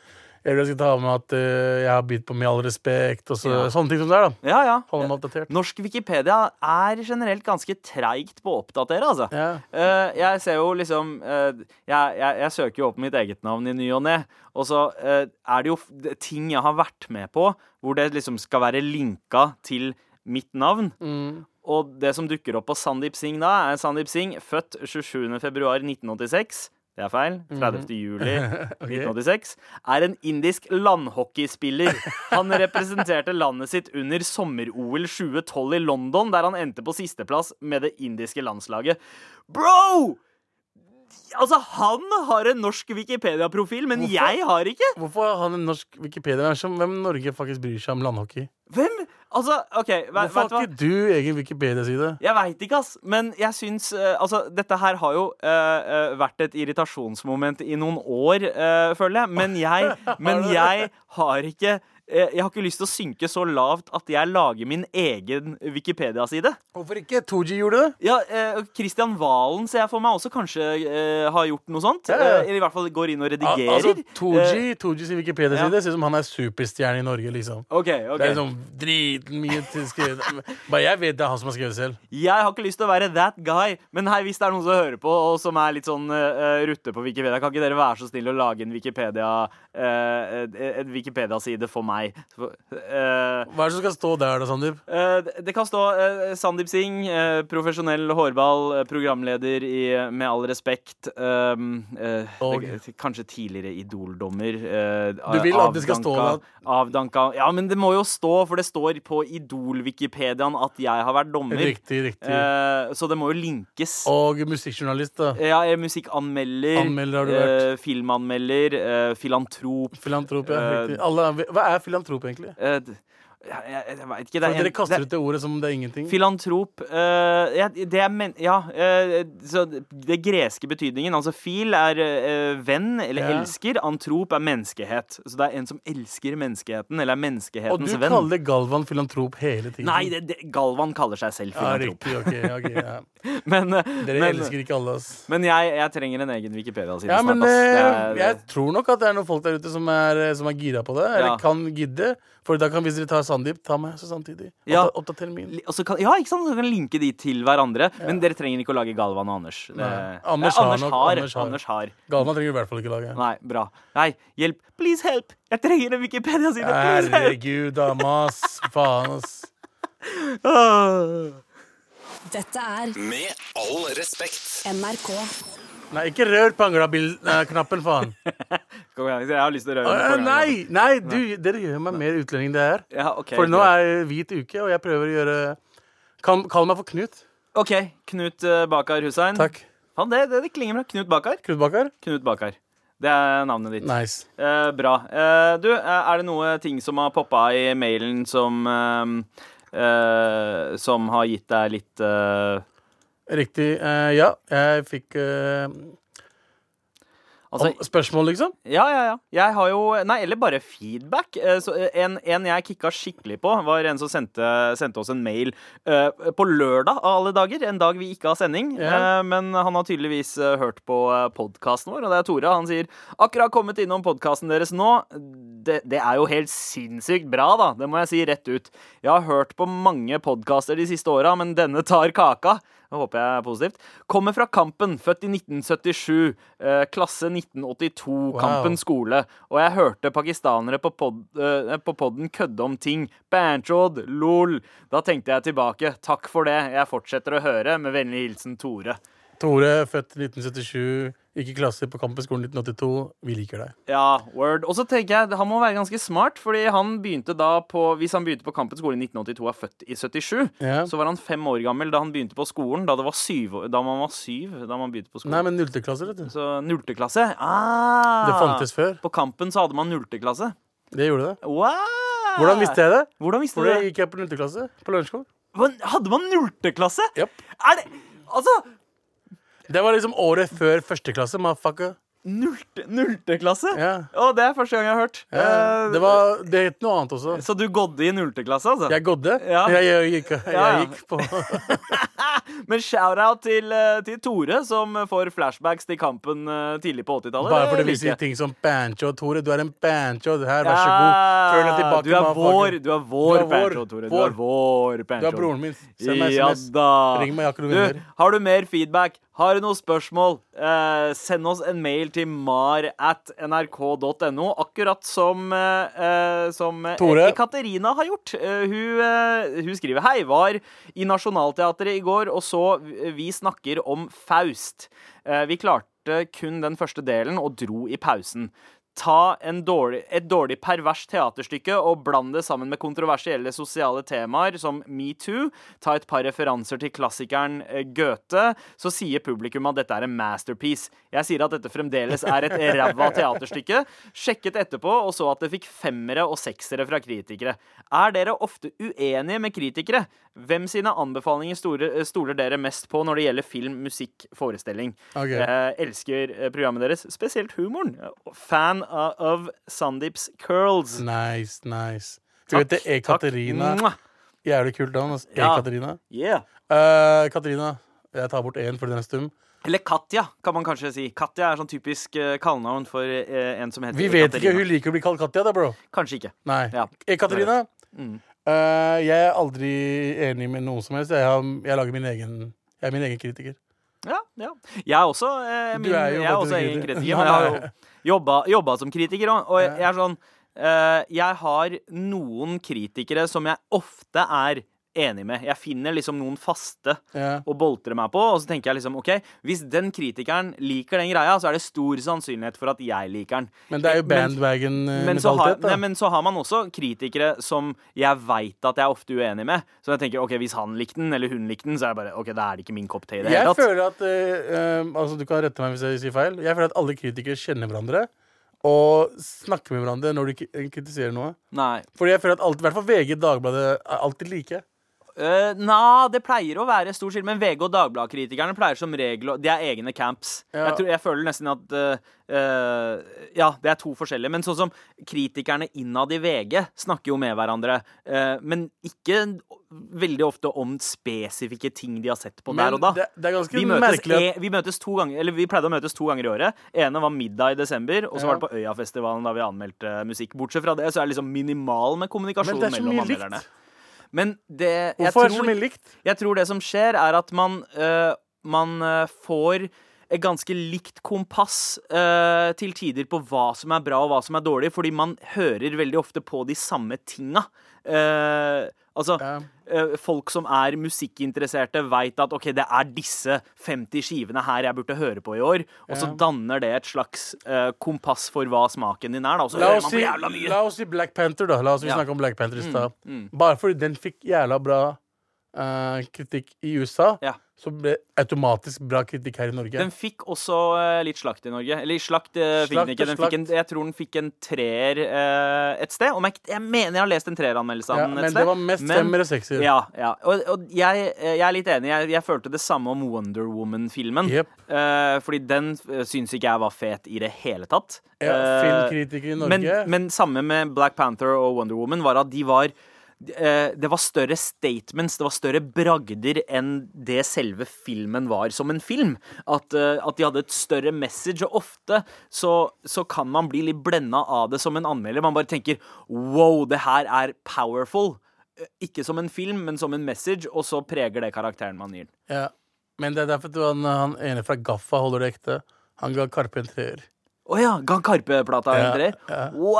E: Jeg vil at de skal ta med at eh, jeg har bitt på med all respekt. Og så,
C: Ja.
E: Sånne ting som det er, da.
C: Ja, ja.
E: Holde meg oppdatert.
C: Norsk Wikipedia er generelt ganske treigt på å oppdatere, altså.
E: Ja.
C: Eh, jeg ser jo liksom eh, jeg, jeg, jeg søker jo opp mitt eget navn i ny og ne. Og så eh, er det jo f- det- ting jeg har vært med på, hvor det liksom skal være linka til mitt navn. Og det som dukker opp på Sandeep Singh da, er Sandeep Singh, født 27.2.1986. Det er feil.
E: Mhm.
C: 30. juli 1986. Er en indisk landhockeyspiller. Han representerte landet sitt under sommer-OL 2012 i London, der han endte på sisteplass med det indiske landslaget. Bro! Altså, han har en norsk Wikipedia-profil, men
E: Hvorfor?
C: jeg har ikke!
E: Hvorfor har han en norsk Wikipedia? Hvem, er som- hvem i Norge faktisk bryr seg om landhockey?
C: Hvem? Altså, OK, ve- vet du
E: Hvorfor
C: hva?
E: har ikke du egen Wikipedia-side?
C: Jeg veit ikke, ass. Men jeg syns eh, Altså, dette her har jo eh, eh, vært et irritasjonsmoment i noen år, eh, føler jeg. Men jeg, men jeg har ikke eh, jeg har ikke lyst til å synke så lavt at jeg lager min egen Wikipedia-side.
E: Hvorfor ikke? 2G gjorde det.
C: Ja, eh, Christian Valen ser jeg for meg også kanskje eh, har gjort noe sånt.
E: Ja, ja.
C: eh, Eller i hvert fall går inn og
E: Al-
C: redigerer.
E: Altså,
C: Eh,
E: 2G, 2G sin Wikipedia-side
C: ja.
E: ser ut som han er superstjerne i Norge, liksom.
C: OK. ok
E: Det er liksom dritmye til skrevet Bare jeg vet det er han som har skrevet det selv.
C: Jeg har ikke lyst til å være that guy, men hei, hvis det er noen som hører på, og som er litt sånn eh, rutte på Wikipedia, kan ikke dere være så snille å lage en Wikipedia eh, eh, en Wikipedia-side for meg? For, eh,
E: Hva er det som skal stå der, da, Sandeep?
C: eh, det kan stå eh, Sandeep Singh, eh, profesjonell hårball, eh, programleder i eh, Med all respekt um, eh,
E: Og-
C: det- Kanskje tidligere Idol-dommer. eh,
E: Du vil at det skal stå
C: avdanka- Avdanka Ja, men det må jo stå, for det står på Idol-Wikipediaen at jeg har vært dommer.
E: Riktig, riktig.
C: Eh, så det må jo linkes.
E: Og musikkjournalist, da.
C: Ja, jeg er musikkanmelder,
E: Anmelder har du vært.
C: eh, filmanmelder, eh, filantrop
E: Filantrop, ja.
C: Eh,
E: Riktig. Alle, er- hva er filantrop, egentlig?
C: eh, d- Jeg, jeg, jeg veit ikke. Det
E: For
C: er
E: dere
C: en-
E: kaster
C: det,
E: ut det ordet som om det er ingenting.
C: Filantrop eh, ja, Det er men... Ja. eh, så det greske betydningen. Altså fil er eh, venn eller
E: Ja.
C: elsker. Antrop er menneskehet. Så det er en som elsker menneskeheten, eller er
E: Og du
C: menneskehetens venn.
E: kaller Galvan filantrop hele tiden.
C: Nei, det, det, Galvan kaller seg selv
E: ja,
C: filantrop.
E: riktig, ok, ok, ja.
C: men eh,
E: Dere
C: men,
E: elsker ikke alle, ass.
C: men jeg, jeg trenger en egen Wikipedia-side
E: Ja, men
C: snart. ass.
E: eh,
C: Det er-
E: jeg tror nok at det er noen folk der ute som er, eh, som er gira på det,
C: Ja.
E: eller kan gidde. For da kan, hvis dere tar Sandeep, ta meg så samtidig.
C: Ja.
E: Oppda- Oppdater min.
C: Li- og så kan, ja, ikke sant? Så kan linke de til hverandre. Men dere trenger ikke å lage Galvan og Anders. Det,
E: Nei. Anders
C: Ja,
E: har
C: Anders,
E: nok-
C: har,
E: Anders har.
C: Anders har.
E: Galvan trenger du i hvert fall ikke lage.
C: Nei, bra. Nei, hjelp. Please help! Jeg trenger en Wikipedia-side. Please help!
E: Herregud, dama, ass. Faen, ass.
C: Åh.
B: Dette er
A: Med all respekt.
B: NRK.
E: Nei, ikke rør pangla-knappen, faen.
C: Kom igjen, jeg har lyst til å røre
E: Øh,
C: meg.
E: nei, nei, du, dere gjør meg mer utlending enn det jeg er.
C: Ja, ok,
E: For nå
C: greit.
E: er det hvit uke, og jeg prøver å gjøre Kall, kall meg for Knut.
C: OK, Knut eh, Bakar Hussein.
E: Takk.
C: Faen, det, det, det klinger bra. Knut Bakar.
E: Knutbakker?
C: Knut Bakar. Det er navnet ditt.
E: Nice.
C: Eh, bra. Eh, du, eh, er det noe ting som har poppa i mailen som eh, eh, Som har gitt deg litt eh,
E: Riktig. eh, ja, jeg fikk eh,
C: Altså,
E: Spørsmål, liksom?
C: ja, ja, ja. Jeg har jo Nei, eller bare feedback. Eh, Så eh, en, en jeg kicka skikkelig på, var en som sendte, sendte oss en mail eh, på lørdag av alle dager. En dag vi ikke har sending.
E: Ja.
C: Eh, Men han har tydeligvis eh, hørt på podkasten vår, og det er Tore. Han sier akkurat kommet innom podkasten deres nå. Det, det er jo helt sinnssykt bra, da. Det må jeg si rett ut. Jeg har hørt på mange podkaster de siste åra, men denne tar kaka. Det håper jeg er positivt. Kommer fra Kampen, født i 1977. Eh, klasse 1982. Kampen skole. Og jeg hørte pakistanere på, pod, eh, på podden kødde om ting. Banchod, lol. Da tenkte jeg tilbake. Takk for det. Jeg fortsetter å høre. Med vennlig hilsen Tore.
E: Tore, født 1977, gikk i klasse på Kampenskolen 1982. Vi liker deg.
C: Ja, word. Og så tenker jeg, han må være ganske smart, fordi han begynte da på Hvis han begynte på Kampens skole i 1982 og er født i 77,
E: Ja.
C: så var han fem år gammel da han begynte på skolen. Da, det var syv, år- da man var syv da man begynte på skolen.
E: Nei, men nullteklasse, vet du.
C: Så nullteklasse. Ah,
E: Det fantes før.
C: På Kampen så hadde man nullteklasse.
E: Det gjorde det.
C: Wow!
E: Hvordan visste jeg det?
C: Hvordan Ah. visste
E: For
C: du
E: det
C: det?
E: gikk jeg på nullteklasse på lunsjskolen.
C: Hva- Hadde man nullteklasse?
E: Japp.
C: Er det Altså,
E: Det var liksom året før førsteklasse, motherfucker.
C: nullte, nullteklasse?
E: Ja.
C: Å, det er første gang jeg har hørt.
E: Ja,
C: Eh,
E: det, var, det het noe annet også.
C: Så du gådde i nullteklasse, altså?
E: Jeg gådde.
C: Ja.
E: Jeg, jeg, gikk, jeg
C: Ja, ja.
E: gikk på
C: Men shout-out til, eh, til Tore, som får flashbacks til kampen eh, tidlig på 80-tallet.
E: Bare fordi vi
C: liker
E: sier
C: jeg.
E: ting som Bancho, Tore. Du er en bancho. Her, vær så god. Føl deg
C: Ja,
E: tilbake.
C: du er vår,
E: motherfucker.
C: du er vår,
E: Du er vår,
C: Pancho, Tore. Du
E: vår.
C: er vår Pancho.
E: Du er broren min. Send meg
C: Ja
E: SMS.
C: da.
E: Ring meg, jeg har ikke noen
C: Du,
E: venner.
C: har du mer feedback? Har du noen spørsmål? Eh, send oss en mail til mar at nrk.no, akkurat som, eh, eh, som eh,
E: Tore.
C: Katarina har gjort. Eh, hun, eh, hun skriver Hei, var i Nationaltheatret i går, og så eh, Vi snakker om Faust. Eh, vi klarte kun den første delen og dro i pausen. Ta en dårlig, et dårlig pervers teaterstykke og bland det sammen med kontroversielle sosiale temaer som metoo. Ta et par referanser til klassikeren eh, Goethe. Så sier publikum at dette er en masterpiece. Jeg sier at dette fremdeles er et ræva teaterstykke. Sjekket etterpå og så at det fikk femmere og seksere fra kritikere. Er dere ofte uenige med kritikere? Hvem sine anbefalinger store, eh, stoler dere mest på når det gjelder film, musikk, forestilling?
E: Ok.
C: Eh, elsker eh, programmet deres, spesielt humoren. Fan av, av Sandeeps curls.
E: Mm. Nice, nice. Hun heter E-Katerina.
C: Takk. Mwah.
E: Jævlig kult navn. Altså.
C: Ja.
E: E-Katerina.
C: Yeah.
E: Eh, Katerina. Jeg tar bort én fordi den er stum.
C: Eller Katja, kan man kanskje si. Katja er sånn typisk eh, kallenavn for eh, en som heter
E: Vi vet ikke.
C: Katarina.
E: Hun liker å bli kalt Katja, da, bro.
C: Kanskje ikke.
E: Nei.
C: Ja. Mm.
E: E-Katerina. Eh, jeg er aldri enig med noe som helst. Jeg, har, jeg lager min egen Jeg er min egen kritiker.
C: Ja, ja. Jeg er også, eh, min,
E: Du er jo
C: jeg er
E: faktisk
C: også egen
E: kritiker.
C: kritiker, men jeg har jo
E: Nei.
C: jobba, jobba som kritiker òg. Og jeg er sånn eh, Jeg har noen kritikere som jeg ofte er enig med. Jeg finner liksom noen faste
E: Ja.
C: å boltre meg på, og så tenker jeg liksom OK, hvis den kritikeren liker den greia, så er det stor sannsynlighet for at jeg liker den.
E: Men det er jo
C: Men-
E: Eh,
C: men så, har,
E: bandwagon-mentalitet.
C: nei,
E: da.
C: men så har man også kritikere som jeg veit at jeg er ofte uenig med. Så jeg tenker ok, hvis han likte den, eller hun likte den, så er jeg bare ok, da er det ikke min kopp te i det
E: Jeg
C: hele tatt.
E: føler at eh, eh, Altså, du kan rette meg hvis jeg sier feil. Jeg føler at alle kritikere kjenner hverandre og snakker med hverandre når de ki- kritiserer noe.
C: Nei.
E: Fordi jeg føler at alt, i hvert fall VG, Dagbladet, er alltid like.
C: Eh, na, det pleier å være stor skille, men VG og Dagbladet-kritikerne pleier som regel å De er egne camps.
E: Ja.
C: Jeg, tror, jeg føler nesten at eh, eh, Ja, det er to forskjellige. Men sånn som kritikerne innad i VG snakker jo med hverandre, eh, men ikke veldig ofte om spesifikke ting de har sett på der og da.
E: det, det er ganske
C: Vi møtes,
E: merkelig at
C: e- vi møtes to ganger Eller vi pleide å møtes to ganger i året. Ene var middag i desember, og så
E: Ja.
C: var det på Øyafestivalen da vi anmeldte musikk. Bortsett fra det så er det liksom minimal med kommunikasjon
E: Men det er så
C: mellom
E: mye
C: anmelderne.
E: likt.
C: Men det jeg
E: Hvorfor er det
C: tror-
E: så mye likt?
C: jeg tror det som skjer er at man, øh, man øh, får et ganske likt kompass øh, til tider på hva som er bra og hva som er dårlig, fordi man hører veldig ofte på de samme tinga. Eh, altså,
E: Ja.
C: eh, folk som er musikkinteresserte, veit at OK, det er disse 50 skivene her jeg burde høre på i år, og så
E: Ja.
C: danner det et slags eh, kompass for hva smaken din er, da. Og så
E: La
C: hører man
E: oss, si,
C: på jævla mye.
E: la oss si Black Panther, da. La oss vi
C: Ja. Mm,
E: snakke om Black Panther i stad. Bare fordi den fikk jævla bra eh, kritikk i USA,
C: Ja.
E: så ble det automatisk bra kritikk her i Norge.
C: Den fikk også eh, litt slakt i Norge. Eller slakt eh, fikk
E: Slakt
C: den ikke. Den
E: og
C: fikk en, jeg tror den fikk en treer eh, et sted. Om jeg, ikke- jeg mener jeg har lest en treeranmeldelse av
E: ja,
C: den et
E: men
C: sted.
E: det var mest femmere og seksere.
C: Ja, ja. Og, og jeg, eh, jeg er litt enig. Jeg, jeg følte det samme om Wonder Woman-filmen.
E: Jep.
C: Eh, fordi den eh, syns ikke jeg var fet i det hele tatt.
E: Ja,
C: Eh,
E: filmkritiker i Norge.
C: men, men samme med Black Panther og Wonder Woman var at de var eh, det var større statements, det var større bragder enn det selve filmen var som en film. At, eh, at de hadde et større message, og ofte så, så kan man bli litt blenda av det som en anmelder. Man bare tenker wow, det her er powerful. Eh, Ikke som en film, men som en message, og så preger det karakteren man gir den.
E: Ja. Men det er derfor at han, han ene fra Gaffa holder det ekte. Han ga Karpe en treer.
C: Å ja! Gan Karpe-plata
E: Ja,
C: entrer?
E: ja.
C: Wow!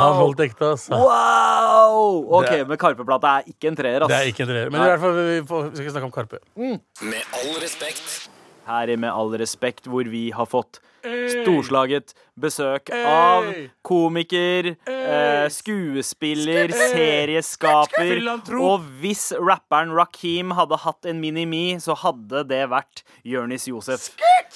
E: Han holdt det ekte, altså.
C: Wow! OK,
E: Det er-
C: men Karpe-plata er ikke en treer, ass.
E: Det er ikke en treer. Men i hvert fall, vi, får, vi skal snakke om Karpe.
A: Med all respekt.
C: Her i Med all respekt, hvor vi har fått storslaget besøk av komiker, eh, skuespiller, serieskaper.
E: Filantrop.
C: Og hvis rapperen Rakim hadde hatt en Mini-Me, så hadde det vært Jonis Josef.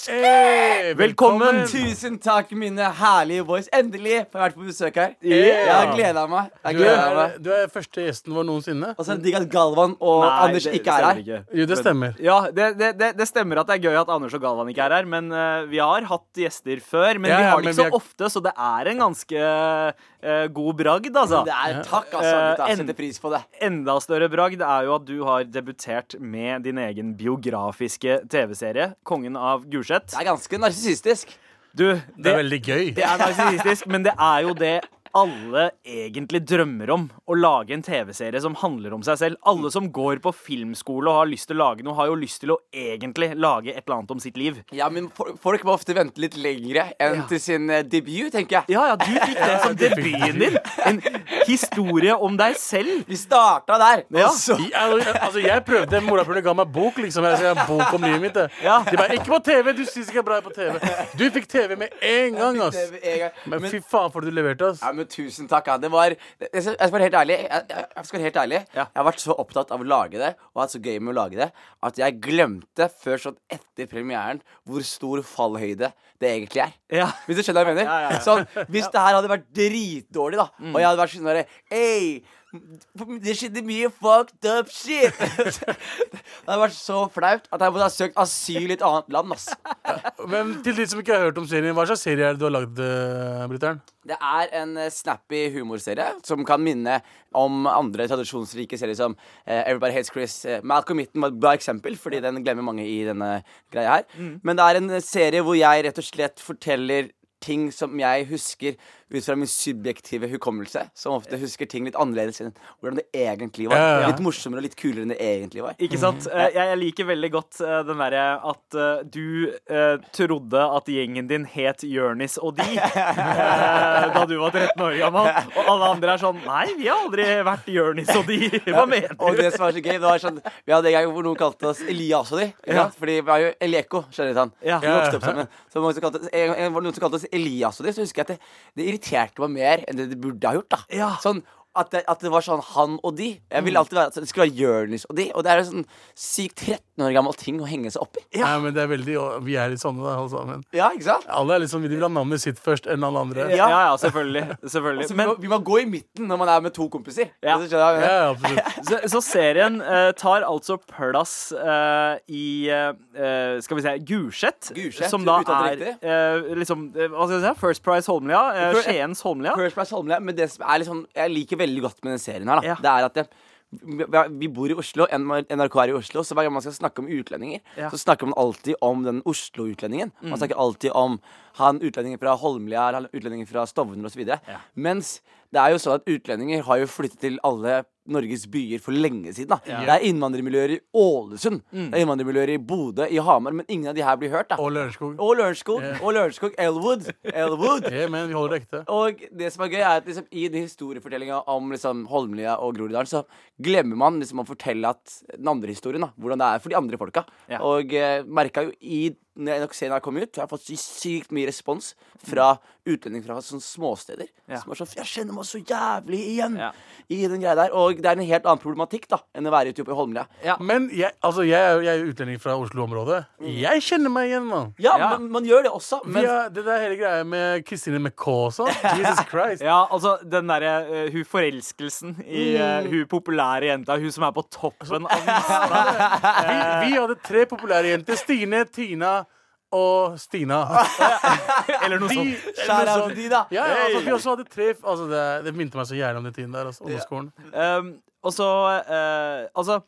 E: Hey,
C: Velkommen!
D: Tusen takk, mine herlige boys. Endelig får jeg vært på besøk her.
C: Yeah.
D: Jeg har gleda meg. Jeg
E: Du
D: har gledet
E: er,
D: meg.
E: du er første gjesten vår noensinne.
C: Altså,
D: Og så er det digg at Galvan og
C: Nei,
D: Anders
C: det-
D: ikke er her.
C: det stemmer ikke.
E: Jo, det stemmer.
C: Ja, det, det, det, det stemmer at det er gøy at Anders og Galvan ikke er her, men eh, vi har hatt gjester før. Men
E: Ja,
C: vi
E: ja,
C: har det
E: men
C: ikke så
E: vi er-
C: ofte, så det er en ganske eh, god bragd, altså.
D: Det er Takk, altså.
C: Eh,
D: Gutta, jeg
C: en-
D: setter pris på det.
C: Enda større bragd er jo at du har debutert med din egen biografiske TV-serie, 'Kongen av Gulset'.
D: Det er ganske narsissistisk.
C: Du,
E: Det
C: det,
E: er veldig gøy.
C: det er narsissistisk, men det er jo det alle egentlig drømmer om. Å lage en TV-serie som handler om seg selv. Alle som går på filmskole og har lyst til å lage noe, har jo lyst til å egentlig lage et eller annet om sitt liv.
D: Ja, men fo- folk må ofte vente litt lengre enn
C: Ja.
D: til sin eh, debut, tenker jeg.
C: Ja, ja, du fikk den som debuten din. En historie om deg selv.
D: Vi starta der.
C: Ja.
D: Og så
E: I- al- Altså, jeg prøvde, Mora prøvde ga meg bok, liksom. Jeg skrev en bok om livet mitt. det.
C: Ja.
E: De bare 'Ikke på TV! Du syns ikke jeg er bra på TV!' Du fikk TV med en gang, ass.
D: Det er en gang.
E: Men
D: Men-
E: fy faen for det du leverte, ass.
D: Ja, men Tusen takk. Ja. Det var, jeg skal jeg skal være helt ærlig. Jeg, jeg, jeg skal være helt ærlig
C: Ja.
D: Jeg har vært så opptatt av å lage det og hatt så gøy med å lage det at jeg glemte før sånn etter premieren hvor stor fallhøyde det egentlig er.
C: Ja.
D: Hvis du skjønner hva jeg mener?
C: Ja, ja, Mm. ja.
D: Sånn, hvis det her hadde vært dritdårlig, da, og jeg hadde vært sånn derre Ei, det skjedde mye fucked up shit. det hadde vært så flaut at jeg måtte ha søkt asyl i et annet land, ass.
E: Men til de som ikke har hørt om serien, hva slags serie er det du har lagd, eh, Bryteren?
D: Det er en eh, snappy humorserie som kan minne om andre tradisjonsrike serier som eh, Everybody Hates Chris. eh, Malcolm Mitten var et bra eksempel, fordi den glemmer mange i denne greia her.
E: Mm.
D: Men det er en eh, serie hvor jeg rett og slett forteller ting som jeg husker ut fra min subjektive hukommelse. Som ofte husker ting litt annerledes enn hvordan det egentlig var.
E: Ja, ja, ja.
D: Litt morsommere og litt kulere enn det egentlig var.
C: Ikke sant? Eh, Jeg, jeg liker veldig godt eh, den derre at eh, du eh, trodde at gjengen din het Jørnis og de eh, da du var 13 år gammel. Og alle andre er sånn Nei, vi har aldri vært Jørnis og de. Hva mener
D: Og
C: du?
D: det som var så gøy, det var sånn Vi hadde en gang hvor noen kalte oss Elias og de. ikke sant? Fordi vi var jo Elieko, skjønner du han.
C: Ja.
D: Vi vokste opp sammen. Så mange som kalte, oss- en, gang- en, var det noen som kalte oss Elias og de, så husker jeg at det, det irriterte meg mer enn det det burde ha gjort. da
C: Ja. Mm.
D: Sånn at det, at det var sånn han og de. Jeg ville alltid være at det skulle være Jonis og de. Og det er en sånn sykt 13 år gammel ting å henge seg opp i.
E: Nei, men det er veldig, og vi er litt sånne, da, alle sammen.
D: Ja, ikke sant?
E: Alle er liksom, de vil ha navnet sitt først enn alle andre.
C: Ja, ja, selvfølgelig. selvfølgelig.
D: Så vi,
C: Men
D: må, vi må gå i midten når man er med to kompiser.
C: Ja.
D: Så skjønner jeg,
E: Ja, ja, absolutt.
C: så, så serien eh, tar altså plass eh, i eh, Skal vi se Gulset.
D: Gulset,
C: Som da
D: uttalt
C: er eh, liksom eh, Hva skal jeg si? First Price Holmlia. eh,
D: Fir-
C: Skiens Holmlia.
D: First Price Holmlia, men det som er litt sånn Jeg liker veldig godt med den serien her, da.
C: Ja.
D: Det er at det, vi, vi bor i Oslo, NM NRK er i Oslo, så hver gang man skal snakke om utlendinger,
C: Ja. Mm.
D: så snakker man alltid om den Oslo-utlendingen. Man snakker alltid om han utlendingen fra Holmlia, eller han utlendingen fra Stovner osv. videre Mens det er jo sånn at utlendinger har jo flyttet til alle Norges byer for lenge siden. da Det er innvandrermiljøer i Ålesund,
C: Mm.
D: det er innvandrermiljøer i Bodø, i Hamar, men ingen av de her blir hørt. da
E: Og Lørenskog.
D: Og Lørenskog. Og Lørenskog. Elwood. Elwood.
E: Ja, men vi holder det ekte.
D: Og det som er gøy, er at liksom, i den historiefortellinga om liksom, Holmlia og Groruddalen, så glemmer man liksom, å fortelle at den andre historien, da, hvordan det er for de andre folka.
C: Ja.
D: Og eh, merka jo i når jeg nok ser NRK Mute, har jeg fått så sykt mye respons fra utlendinger fra sånne småsteder.
C: Ja.
D: Som er sånn Jeg kjenner meg så jævlig igjen
C: Ja.
D: i den greia der. Og det er en helt annen problematikk da enn å være ute oppe i Holmlia.
C: Ja.
E: Men jeg, altså, jeg, er jo- jeg er jo utlending fra Oslo-området. Jeg kjenner meg igjen, mann.
D: Ja,
C: Ja.
D: Man, man gjør det også, men
E: Ja, det der hele greia med Christine McCaw også. Jesus Christ.
C: Ja, altså den derre eh, hun forelskelsen i eh, hun populære jenta, hun som er på toppen av lista.
E: Vi, altså. vi hadde tre populære jenter. Stine, Tina og Stina.
C: Eller noe
E: De,
C: sånt.
D: Shout out
E: noe sånt.
D: til de, da.
E: Ja, ja, altså, vi også hadde tre altså, det, det minte meg så jævlig om den tiden der. Altså, ungdomsskolen.
C: Um, og så eh, Altså,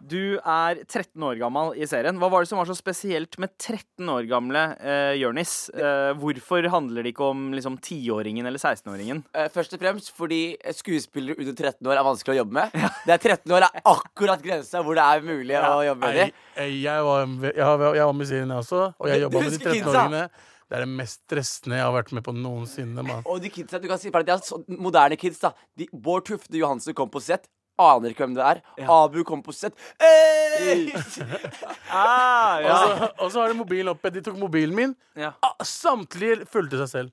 C: du er 13 år gammel i serien. Hva var det som var så spesielt med 13 år gamle uh, Jonis? Eh, hvorfor handler det ikke om liksom 10-åringen eller 16-åringen?
D: Eh, Først og fremst fordi eh, skuespillere under 13 år er vanskelig å jobbe med. Det er 13 år er akkurat grensa hvor det er mulig å jobbe med
E: Nei, eh,
D: dem.
E: jeg, var, jeg, var, jeg var med i serien, jeg også, og jeg
D: Du-
E: jobba
D: du
E: med de
D: husker
E: 13-åringene. Det er det mest stressende jeg har vært med på noensinne. Man.
D: Og de kidsa, du kan si for at de er så, moderne kids, da. De, Bård Tufte Johansen kom på sett. Aner ikke hvem det er. Abu kom på sett. Hey!
C: Ah,
E: Og så- Og så har de mobilen oppe. De tok mobilen min.
C: ja.
E: Ah, Samtlige fulgte seg selv.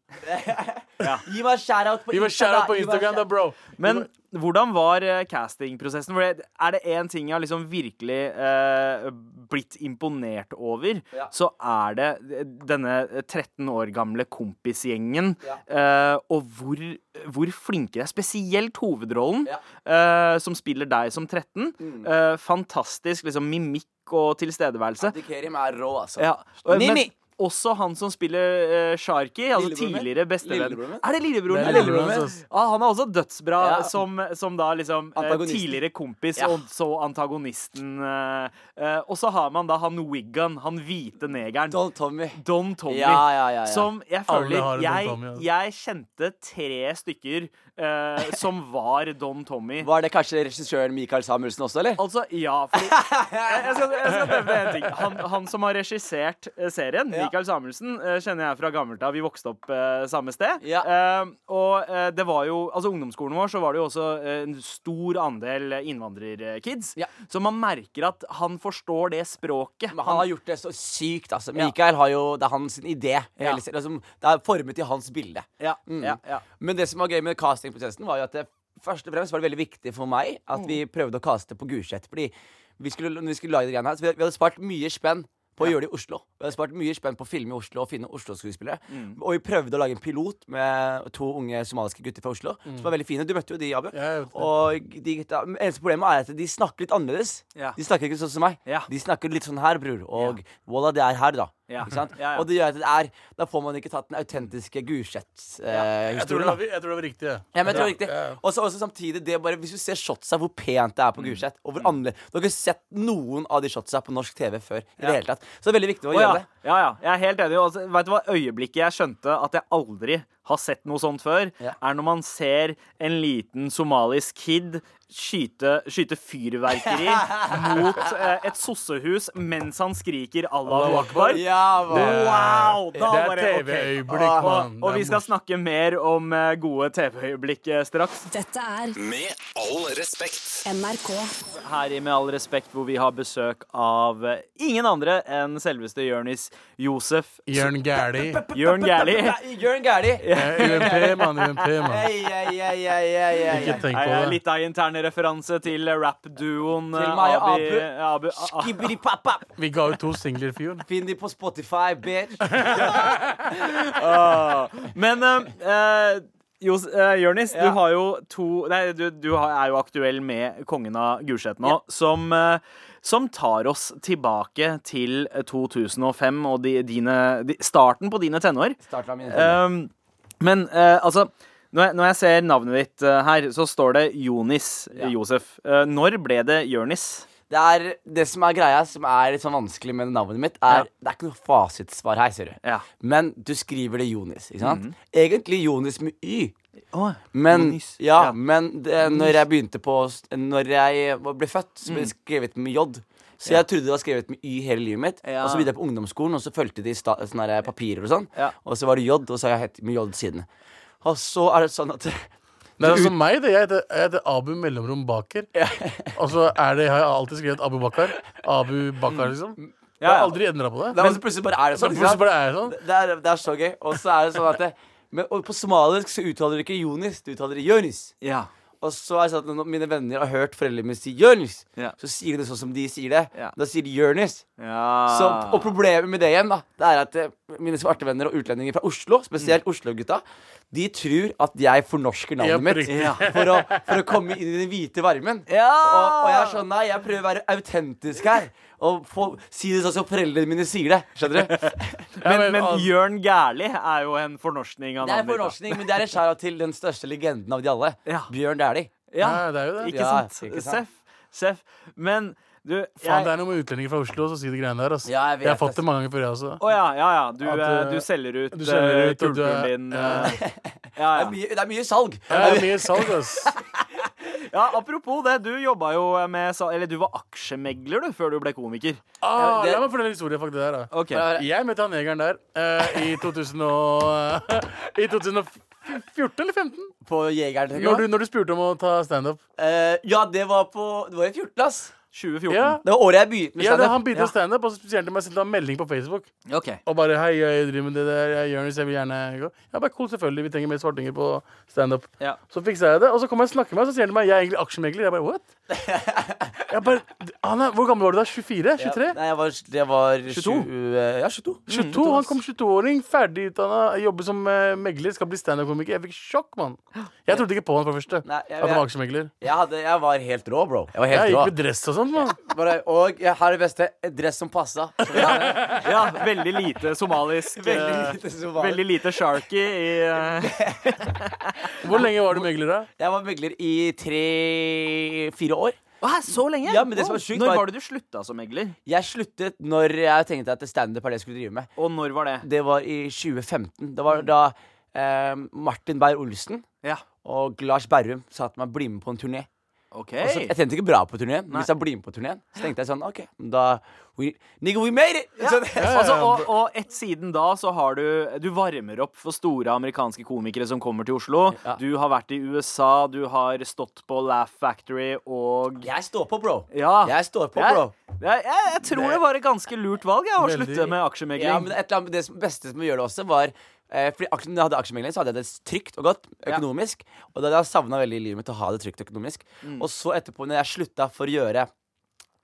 D: Gi meg shout-out på
E: Gi meg
D: Insta, da.
E: shout-out på
D: Gi meg
E: Instagram, da,
D: shout-
E: bro.
C: Men hvordan var eh, castingprosessen? For det, er det én ting jeg har liksom virkelig eh, blitt imponert over,
D: Ja.
C: så er det eh, denne 13 år gamle kompisgjengen. eh, og hvor, hvor flinke de er. Spesielt hovedrollen, eh, som spiller deg som 13. Eh, fantastisk liksom mimikk og tilstedeværelse.
D: Dikerim er rå, altså.
C: Ja, og-
D: Nimi!
C: Men også han som spiller eh, Sharky, altså
D: Lillebroren min?
C: tidligere bestevenn.
D: Lillebroren min?
C: Er altså. det lillebroren?
E: Det er
C: min?
E: lillebroren min, ass.
C: Ja, Ah, han er også dødsbra
D: Ja.
C: som, som da liksom eh,
D: Antagonisten.
C: tidligere kompis,
D: Ja.
C: og så antagonisten. eh, eh, og så har man da han Wiggan, han hvite negeren. Don,
D: Don Tommy.
C: Tommy.
D: Ja, ja, ja, ja.
C: Som jeg
E: Alle
C: føler
E: har en Don
C: jeg,
E: Tommy, altså.
C: jeg kjente tre stykker eh, som var Don Tommy.
D: Var det kanskje regissøren Michael Samuelsen også, eller?
C: Altså, ja, fordi Jeg, jeg, skal, jeg skal nevne en ting. Han, han som har regissert eh, serien,
D: Ja.
C: Michael Samuelsen, eh, kjenner jeg fra gammelt av. Vi vokste opp eh, samme sted.
D: Ja.
C: Eh, og eh, det var jo Altså, ungdomsskolen vår så var det jo også eh, en stor andel innvandrerkids.
D: Ja.
C: Så man merker at han forstår det språket.
D: Men han har gjort det så sykt, altså.
C: Ja.
D: Michael har jo Det er hans idé.
C: Ja.
D: Hele, serien. altså, det er formet i hans bilde. Mm.
C: ja, ja, ja.
D: Men det som var gøy med castingprosessen, var jo at det først og fremst var det veldig viktig for meg at vi
C: Mm.
D: prøvde å caste på Gulset. Fordi vi skulle, når vi skulle lage det greiene her, så vi, vi hadde spart mye spenn på å gjøre det i Oslo. Vi hadde spart mye spenn på å filme i Oslo og finne Oslo-skuespillere.
C: Mm.
D: Og vi prøvde å lage en pilot med to unge somaliske gutter fra Oslo.
C: Mm.
D: Som var veldig fine. Du møtte jo de, Abu.
E: jeg vet det.
D: og de gutta men Eneste problemet er at de snakker litt annerledes.
C: Ja.
D: De snakker ikke sånn som meg.
C: Ja.
D: De snakker litt sånn her, bror. Og voilà, det er her, da.
C: Ja.
D: Ikke sant?
C: Ja, ja.
D: Og det gjør at det er Da får man ikke tatt den autentiske Gulset-historien.
E: Jeg tror det var, jeg tror det var riktig. jeg.
D: Ja, men jeg tror det er riktig. Og så også samtidig, det bare, hvis du ser shotsa, hvor pent det er på Gulset. Og hvor annerledes Du har ikke sett noen av de shotsa på norsk TV før. I det hele tatt Så det er veldig viktig å
C: Å,
D: gjøre
C: ja. ja, ja. Jeg er helt enig. Og altså, vet du hva øyeblikket jeg skjønte at jeg aldri har sett noe sånt før,
D: Ja.
C: er når man ser en liten somalisk kid skyte, skyte fyrverkeri mot eh, et sossehus mens han skriker 'Allahu
D: det.
C: akbar'.
D: Ja, hva?
C: Wow! Da
E: Det er
C: var det ok.
E: TV-øyeblikk, mann.
C: Og, og vi skal snakke mer om eh, gode TV-øyeblikk eh, straks.
B: Dette er
A: Med all respekt.
B: NRK.
C: her i Med all respekt, hvor vi har besøk av eh, ingen andre enn selveste Jonis Josef
E: Jørn Gæli.
C: Jørn Gærli.
D: Jørn Gæli.
E: Eh, UMP, mann. UMP, mann.
D: Ei, ei, ei, ei, ei, ei,
E: Ikke
D: ei.
E: tenk
C: Nei,
E: på det.
C: Litt av interne referanse til eh, rap-duoen eh,
D: Til meg og
C: Abi- ah, Abu. A- A-
D: Skibidi pappa.
E: Vi ga ut to singler i fjor.
D: Finn de på Spotify, bitch.
C: Men eh, eh, Jos, eh, Jørnis,
D: Ja.
C: du har jo to Nei, du, du har- er jo aktuell med Kongen av Gulset nå, som, eh, som tar oss tilbake til 2005 og de, dine, de, starten på dine tenår.
D: Starten av min
C: Um, men eh, altså når jeg, når jeg ser navnet ditt eh, her, så står det Jonis eh, Josef. Eh, når ble det Jørnis?
D: Det er det som er greia, som er litt sånn vanskelig med navnet mitt,
C: Ja.
D: er Det er ikke noe fasitsvar her, ser du.
C: Ja.
D: Men du skriver det Jonis, ikke sant? Egentlig Jonis med Y. Men,
C: Jonis,
D: ja,
C: ja.
D: men det, når jeg begynte på Når jeg var- ble født, så ble det skrevet med J. Så jeg trodde det var skrevet med Y hele livet mitt.
C: Ja.
D: Og så begynte jeg på ungdomsskolen, og så fulgte de sta, sånne her papirer og sånn.
C: Ja.
D: Og så var det J, og så har jeg hett med J siden. Og så er det sånn at
E: Det er altså meg, det. Jeg heter, jeg heter Abu Altså, Mellomrom Baker. Og så er det, har jeg alltid skrevet Abu Bakar. Abu Bakar, liksom. Jeg har
C: Mm. ja.
E: aldri endra på det.
D: Da, men, plutselig bare er det
E: Så
D: sånn. ikke
E: plutselig
D: sant?
E: bare er jeg sånn.
D: Det er, det er så gøy. Og så er det sånn at det, men, og På somalisk så uttaler du ikke Jonis, du uttaler Jonis.
C: Ja.
D: Og så er det sånn at når mine venner har hørt foreldrene mine si Jonis,
C: Ja.
D: så sier de det sånn som de sier det.
C: Ja. Ah.
D: Da sier de Jonis. Så,
C: Ja.
D: og problemet med det igjen, da, det er at eh, mine svarte venner og utlendinger fra Oslo,
C: Mm.
D: spesielt Oslo-gutta, de tror at jeg fornorsker navnet
E: Yep,
D: mitt
E: riktig.
C: Ja.
D: for å, for å komme inn i den hvite varmen. Og, og jeg er sånn, nei, jeg prøver å være autentisk her. Og få, si det sånn som foreldrene mine sier det. Skjønner du?
E: Ja,
C: Men, men
E: al-
C: Jørn Gærli er jo en fornorskning av
D: Det er
C: navnet ditt, da.
D: fornorskning, men det er en skjæra til den største legenden av de alle.
C: Ja.
D: Bjørn Dæhlie.
C: Ja,
E: Ja, det er jo det.
C: Ikke
D: Ja,
C: sant?
D: ikke sant.
C: Seff. Seff. Men du jeg-
E: Faen, det er noe med utlendinger fra Oslo som sier de greiene der. Altså.
D: Ja, jeg vet
E: har fått
D: det.
E: det mange ganger før, jeg også.
C: Å ja, ja, ja. Du,
E: At,
C: eh, du
E: eh,
C: selger ut,
E: du selger
C: eh,
E: ut, og du
C: kulturen
E: er-
C: din.
E: ja.
C: eh, ja,
D: Det er
C: ja.
D: mye, det er mye salg.
E: Ja, det er mye salg, ass.
C: ja, apropos det. Du jobba jo med sa- Eller du var aksjemegler, du, før du ble komiker.
E: Ah,
D: det-
E: La meg fortelle en historie faktisk der, da.
C: Ok.
D: Ja,
E: Jeg møtte han negeren der eh, i, 2000 og, i 2014 eller 15
D: På Jegeren. tenker
E: Når du,
D: jeg.
E: når du spurte om å ta standup.
D: Eh, ja, det var på Det var i 14, ass.
C: 2014.
E: Ja.
D: Det var året jeg begynte med
E: Ja, da,
D: standup.
E: han begynte å standup, og så sendte han meg sendte han en melding på Facebook.
C: Ok.
E: Og bare 'Hei, jeg driver med det der. Jeg gjør det, så jeg vil gjerne gå'. Ja, bare cool, selvfølgelig. Vi trenger mer svartinger på standup.
C: Ja.
E: Så fiksa jeg det, og så kom jeg og snakket med meg, så sier han til meg 'Jeg er egentlig aksjemegler'. Jeg bare what? Jeg bare, han er, hvor gammel var du da? 24?
D: Ja,
E: 23?
D: Nei, jeg var, jeg var
C: 22.
D: tjue- ja, 22.
E: 22, Han kom 22-åring, ferdig utdanna, jobber som eh, megler, skal bli standup-komiker. Jeg fikk sjokk, mann. Jeg trodde ikke på han for det første.
D: Nei, jeg-
E: at han var aksjemegler.
D: Jeg, hadde, jeg var helt rå, bro. Jeg var helt
E: Jeg
D: rå
E: gikk med dress og sånn, mann.
D: Bare, Og jeg har det beste. Et dress som passa.
C: ja, veldig lite somalisk. eh,
D: Veldig lite som var
C: veldig lite sharky i eh,
E: Hvor lenge var du megler, da?
D: Jeg var megler i tre-fire år.
C: Hæ, så lenge?
D: Ja, men det som var sjukt
C: når
D: var-
C: var det du slutta som megler?
D: Jeg sluttet når jeg tenkte at standup er det jeg skulle drive med.
C: Og når var det?
D: Det var i 2015. Det var da eh, Martin Beyer-Olsen
C: Ja,
D: og Lars Berrum sa at man blir med på en turné.
C: OK.
D: Og så- jeg tjente ikke bra på turneen, men hvis jeg blir med på turneen, så tenkte jeg sånn OK, da we, Nigga, we made it! Så det-
C: Altså, og, og et siden da så har du Du varmer opp for store amerikanske komikere som kommer til Oslo.
D: Ja.
C: Du har vært i USA, du har stått på Laugh Factory og
D: jeg står på, bro.
C: Ja.
D: Jeg står på,
C: Jeg,
D: bro.
C: jeg, jeg, jeg tror det var et ganske lurt valg jeg, å
E: Veldig.
C: slutte med
D: Ja, men
C: aksjemegling.
D: et eller annet, det som- beste som gjør det også, var eh, fordi aksjen- Når jeg hadde aksjemegling, så hadde jeg det trygt og godt økonomisk. Og da hadde jeg savna veldig i livet mitt å ha det trygt økonomisk. Og så etterpå, når jeg slutta for å gjøre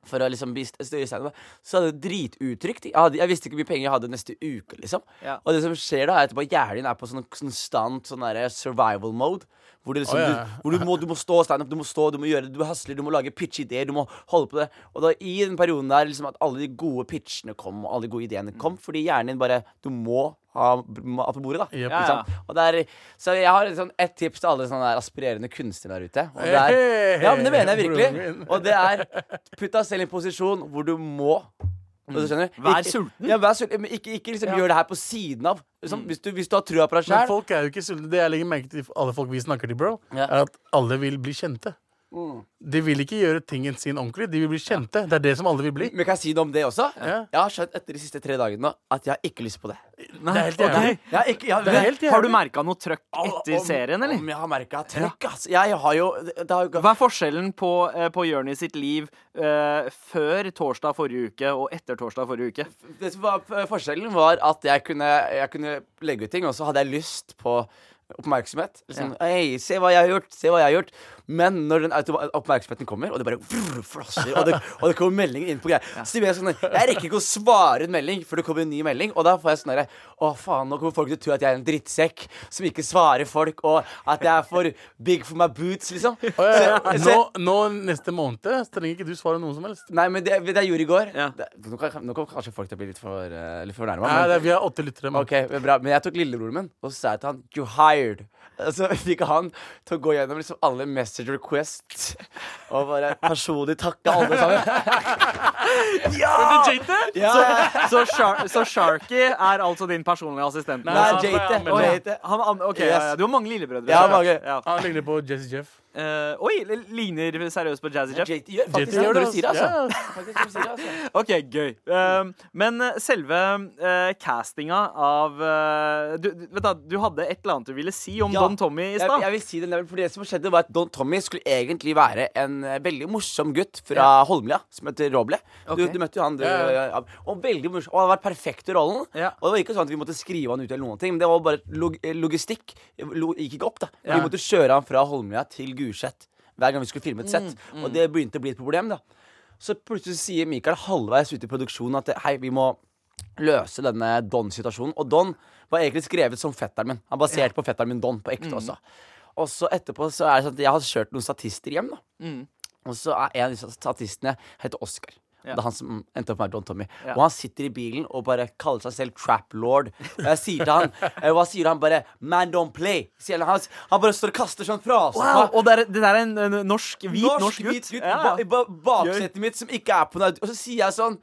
D: For å liksom bli st- større standup, så hadde det dritutrygt. Jeg, hadde, jeg visste ikke hvor mye penger jeg hadde neste uke, liksom.
C: Ja.
D: Og det som skjer da, er etterpå at hjernen din er på sånn konstant sånn derre survival mode. Hvor, det liksom,
E: Å, ja.
D: du, hvor du, må, du må stå standup, du må stå, du må gjøre det, du hasler, du må lage pitch-ideer, du må holde på det. Og da i den perioden der liksom at alle de gode pitchene kom, og alle de gode ideene kom, fordi hjernen din bare Du må ha mat på bordet, da.
E: Jep.
D: Ikke sant? Og det er, så jeg har et, sånn, et tips til alle sånne der aspirerende kunstnere der ute. Og det er,
E: Hey,
D: ja, men det mener jeg
E: broren
D: virkelig.
E: min.
D: Og det er putt deg selv i en posisjon hvor du må. Og du skjønner
C: Vær
D: Ikke-
C: sulten.
D: Ja, vær sulten men ikke, ikke liksom gjør det her på siden av.
E: Mm.
D: Liksom, hvis, du, hvis du har trua på deg
E: Men
D: sjøl.
E: folk er jo ikke sultne. Det jeg legger merke til alle folk vi snakker til, bro,
D: Ja. Mm.
E: er at alle vil bli kjente. De vil ikke gjøre tingen sin ordentlig. De vil bli kjente. Det er det som alle vil bli.
D: Men kan jeg si noe om det også?
E: Ja.
D: Jeg har skjønt etter de siste tre dagene nå at jeg har ikke lyst på det.
C: Nei,
E: det er helt
C: og
E: jævlig.
C: det-
D: Jeg har, ikke, jeg har,
E: Det er helt jævlig.
C: Har du merka noe trøkk etter
D: Om-
C: serien, eller?
D: Om jeg har merka trøkk, ass. Jeg har jo det har jo
C: Hva er forskjellen på, eh, på Jørnis sitt liv eh, før torsdag forrige uke og etter torsdag forrige uke?
D: det som var f- Forskjellen var at jeg kunne, jeg kunne legge ut ting, og så hadde jeg lyst på oppmerksomhet. Liksom, Hei, se hva jeg har gjort, se hva jeg har gjort. Men når den automa- oppmerksomheten kommer, og det bare vrr, flosser, og det, og det kommer meldinger inn på greier Så blir jeg sånn Jeg rekker ikke å svare en melding før det kommer en ny melding, og da får jeg sånn derre Å, faen, nå kommer folk til å tro at jeg er en drittsekk som ikke svarer folk, og at jeg er for big for my boots, liksom.
E: Å, ja, ja.
D: Så-
E: Nå,
D: så-
E: nå neste måned så trenger ikke du svare noe som helst.
D: Nei, men det, det jeg gjorde i går
C: Ja.
D: det, nå, kan, nå kommer kanskje folk til å bli litt for, uh, litt fornærma.
E: Nei, det er, vi har åtte lyttere. mann.
D: Ok, men bra Men jeg tok lillebroren min Og så sa jeg til han You hired Og Så fikk han til å gå gjennom liksom alle message requests Og bare personlig takke alle sammen Ja
C: Så, Shar så Sharky er altså din personlige assistent?
E: Nei,
D: Nei,
E: han-
D: Jate
E: han-
C: Å, ja.
D: Jate
C: Han, an- ok, ja, ja. Du har mange lillebrødre.
D: Ja, mange.
E: Han ligner på Jesse Jeff.
C: Eh, oi, det ligner seriøst på Jazzy Jeff.
D: Jate gjør faktisk
E: Jate
D: det
E: gjør
D: når
E: det,
D: du sier det
E: altså.
D: altså
E: Ja, ja.
D: Faktisk når du sier det altså
C: Ok, gøy. Eh, men eh, selve eh, castinga av eh, du, du- Vet da, du hadde et eller annet du ville si om
D: Ja.
C: Don Tommy i
D: jeg, jeg
C: stad.
D: vil si det, Neville, for det som skjedde var at Don Tommy skulle egentlig være en eh, veldig morsom gutt fra Holmlia, som heter Roble. Du,
C: Ok.
D: du møtte jo han. Du,
E: Ja, ja.
D: ja, Og veldig morsom. Og han hadde vært perfekt i rollen.
C: Ja.
D: Og det var ikke sånn at vi måtte skrive han ut eller noen ting, men det var bare log eh, logistikk. Lo gikk ikke opp, da. Vi
C: Ja.
D: måtte kjøre han fra Holmlia til Gulset hver gang vi skulle filme et sett. Og det begynte å bli et problem, da. Så plutselig sier Mikael halvveis ute i produksjonen at hei, vi må løse denne Don-situasjonen. Og Don var egentlig skrevet som fetteren min. Han er basert på fetteren min Don på ekte også. Og så etterpå så er det sånn at jeg har kjørt noen statister hjem, da.
C: Mm.
D: Og så er en av disse statistene heter Oscar.
C: Ja.
D: Det er han som endte opp med Don Tommy.
C: Ja.
D: Og han sitter i bilen og bare kaller seg selv Trap Lord. Og jeg sier til han eh, Hva sier han bare? Man don't play. Sier han, han, han bare står og kaster sånn frase.
C: Wow, og det er, det der er en, en norsk, hvit norsk, gutt.
D: hvit gutt
C: Ja.
D: ba- i ba- baksetet mitt som ikke er på noe audi- Og så sier jeg sånn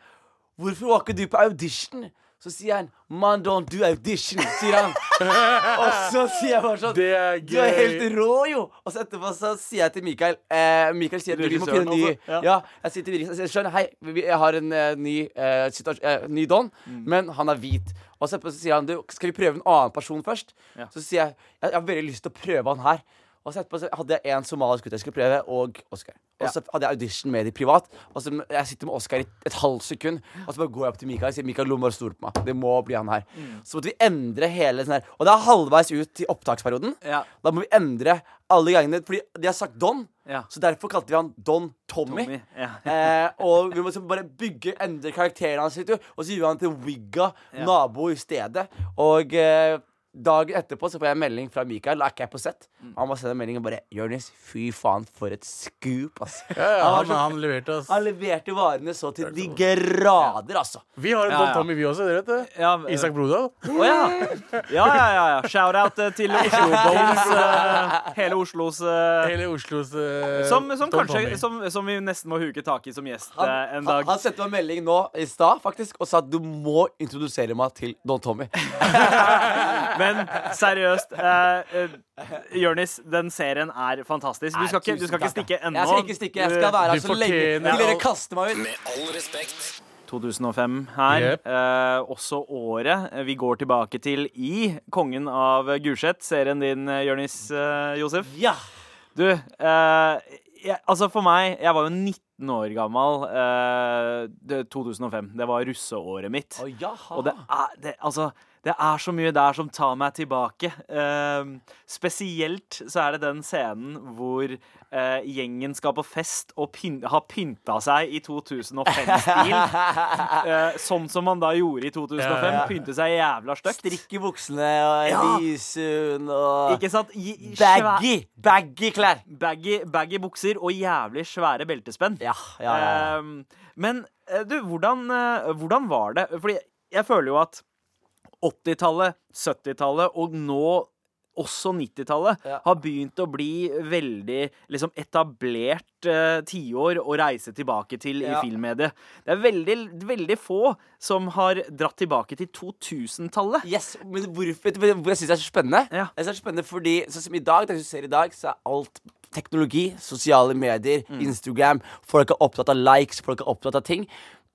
D: Hvorfor var ikke du på audition? Så sier han Man don't do audition, sier han. og så sier jeg bare sånn
E: Det er
D: Du er helt
E: gøy.
D: rå, jo! Og så etterpå så sier jeg til Mikael eh, Mikael sier at vi må
C: Regissøren
D: finne en ny
C: også, ja.
D: Ja, jeg sier til Mikael jeg sier, Skjønn, hei, vi- vi- jeg har en eh, ny, eh, situas- eh, ny don,
C: Mm.
D: men han er hvit. Og så etterpå så sier han du, skal vi prøve en annen person først?
C: Ja.
D: Så sier jeg jeg, jeg har veldig lyst til å prøve han her. Og så etterpå så hadde jeg en somalisk gutt jeg skulle prøve, og Oscar. Og så hadde jeg audition med de privat. Og så Jeg sitter med Oscar i et halvt sekund, og så bare går jeg opp til Mikael og sier Mikael, du må bare stole på meg. Det må bli han her.
C: Mm.
D: Så måtte vi endre hele sånn her. Og det er halvveis ut i opptaksperioden.
C: Ja.
D: Da må vi endre alle gangene, fordi de har sagt Don.
C: Ja.
D: Så derfor kalte vi han Don Tommy.
C: Tommy, ja.
D: eh, og vi må liksom bare bygge, endre karakteren hans litt, jo. og så gjør vi han til Wigga, nabo i stedet. Og eh, dagen etterpå så får jeg en melding fra Mikael, da er ikke jeg på sett.
C: Mm.
D: Han bare sender meldingen bare 'Jonis, fy faen, for et scoop', ass.
E: Ja, ja,
D: Han var
E: han,
D: så-
E: han leverte oss.
D: Han leverte varene så til de grader, altså.
E: Vi har en
C: Ja,
E: Don
C: ja.
E: Tommy, vi også. Dere vet det?
C: Ja,
E: Isak Brodal.
C: Å ja. Ja, ja, ja. ja. Shout-out eh, til Oslo Bones. eh, hele Oslos eh,
E: Hele Oslos eh,
C: som, som
E: Don
C: kanskje
E: Tommy.
C: som, som vi nesten må huke tak i som gjest
D: Han,
C: eh, en
D: han,
C: dag.
D: han sendte meg en melding nå i stad faktisk og sa at du må introdusere meg til Don Tommy.
C: Men seriøst, eh, eh, Jonis, den serien er fantastisk. Du skal ikke, du skal ikke stikke ennå.
D: Jeg skal ikke stikke, jeg skal være her
E: Du
D: så lenge
E: fortjener
D: til dere
E: alt.
D: kaster meg ut.
A: Med all respekt.
C: 2005 her.
E: Jep.
C: Eh, også året vi går tilbake til i Kongen av Gulset, serien din, eh, Jonis eh, Josef.
D: Ja.
C: Du, eh, jeg, altså for meg Jeg var jo 19 år gammel eh, det- 2005. Det var russeåret mitt.
D: Å, jaha.
C: Og det er, det, altså, det er så mye der som tar meg tilbake. Ehm, spesielt så er det den scenen hvor eh, gjengen skal på fest og pyn har pynta seg i 2005-stil. Eh, sånn som man da gjorde i 2005.
E: Ja, ja.
C: Pynte seg jævla stygt.
D: Strikk i buksene og
C: Ja.
D: lyshund og
C: Ikke sant? I- i svær-
D: Baggy! Baggy klær.
C: Baggy, baggy bukser og jævlig svære beltespenn.
D: Ja, ja, ja. ja.
C: Ehm, men eh, du, hvordan, eh, hvordan var det? Fordi jeg føler jo at 80-tallet, 70-tallet og nå også 90-tallet
D: Ja.
C: har begynt å bli veldig liksom, etablert eh, tiår å reise tilbake til
D: Ja.
C: i filmmediet. Det er veldig, veldig få som har dratt tilbake til 2000-tallet.
D: Yes, men hvorfor, vet du hvor jeg syns det er så spennende?
C: Ja.
D: Jeg synes det er spennende fordi Sånn som i dag, det du ser i dag, så er alt teknologi, sosiale medier,
C: Mm.
D: Instagram. Folk er opptatt av likes, folk er opptatt av ting.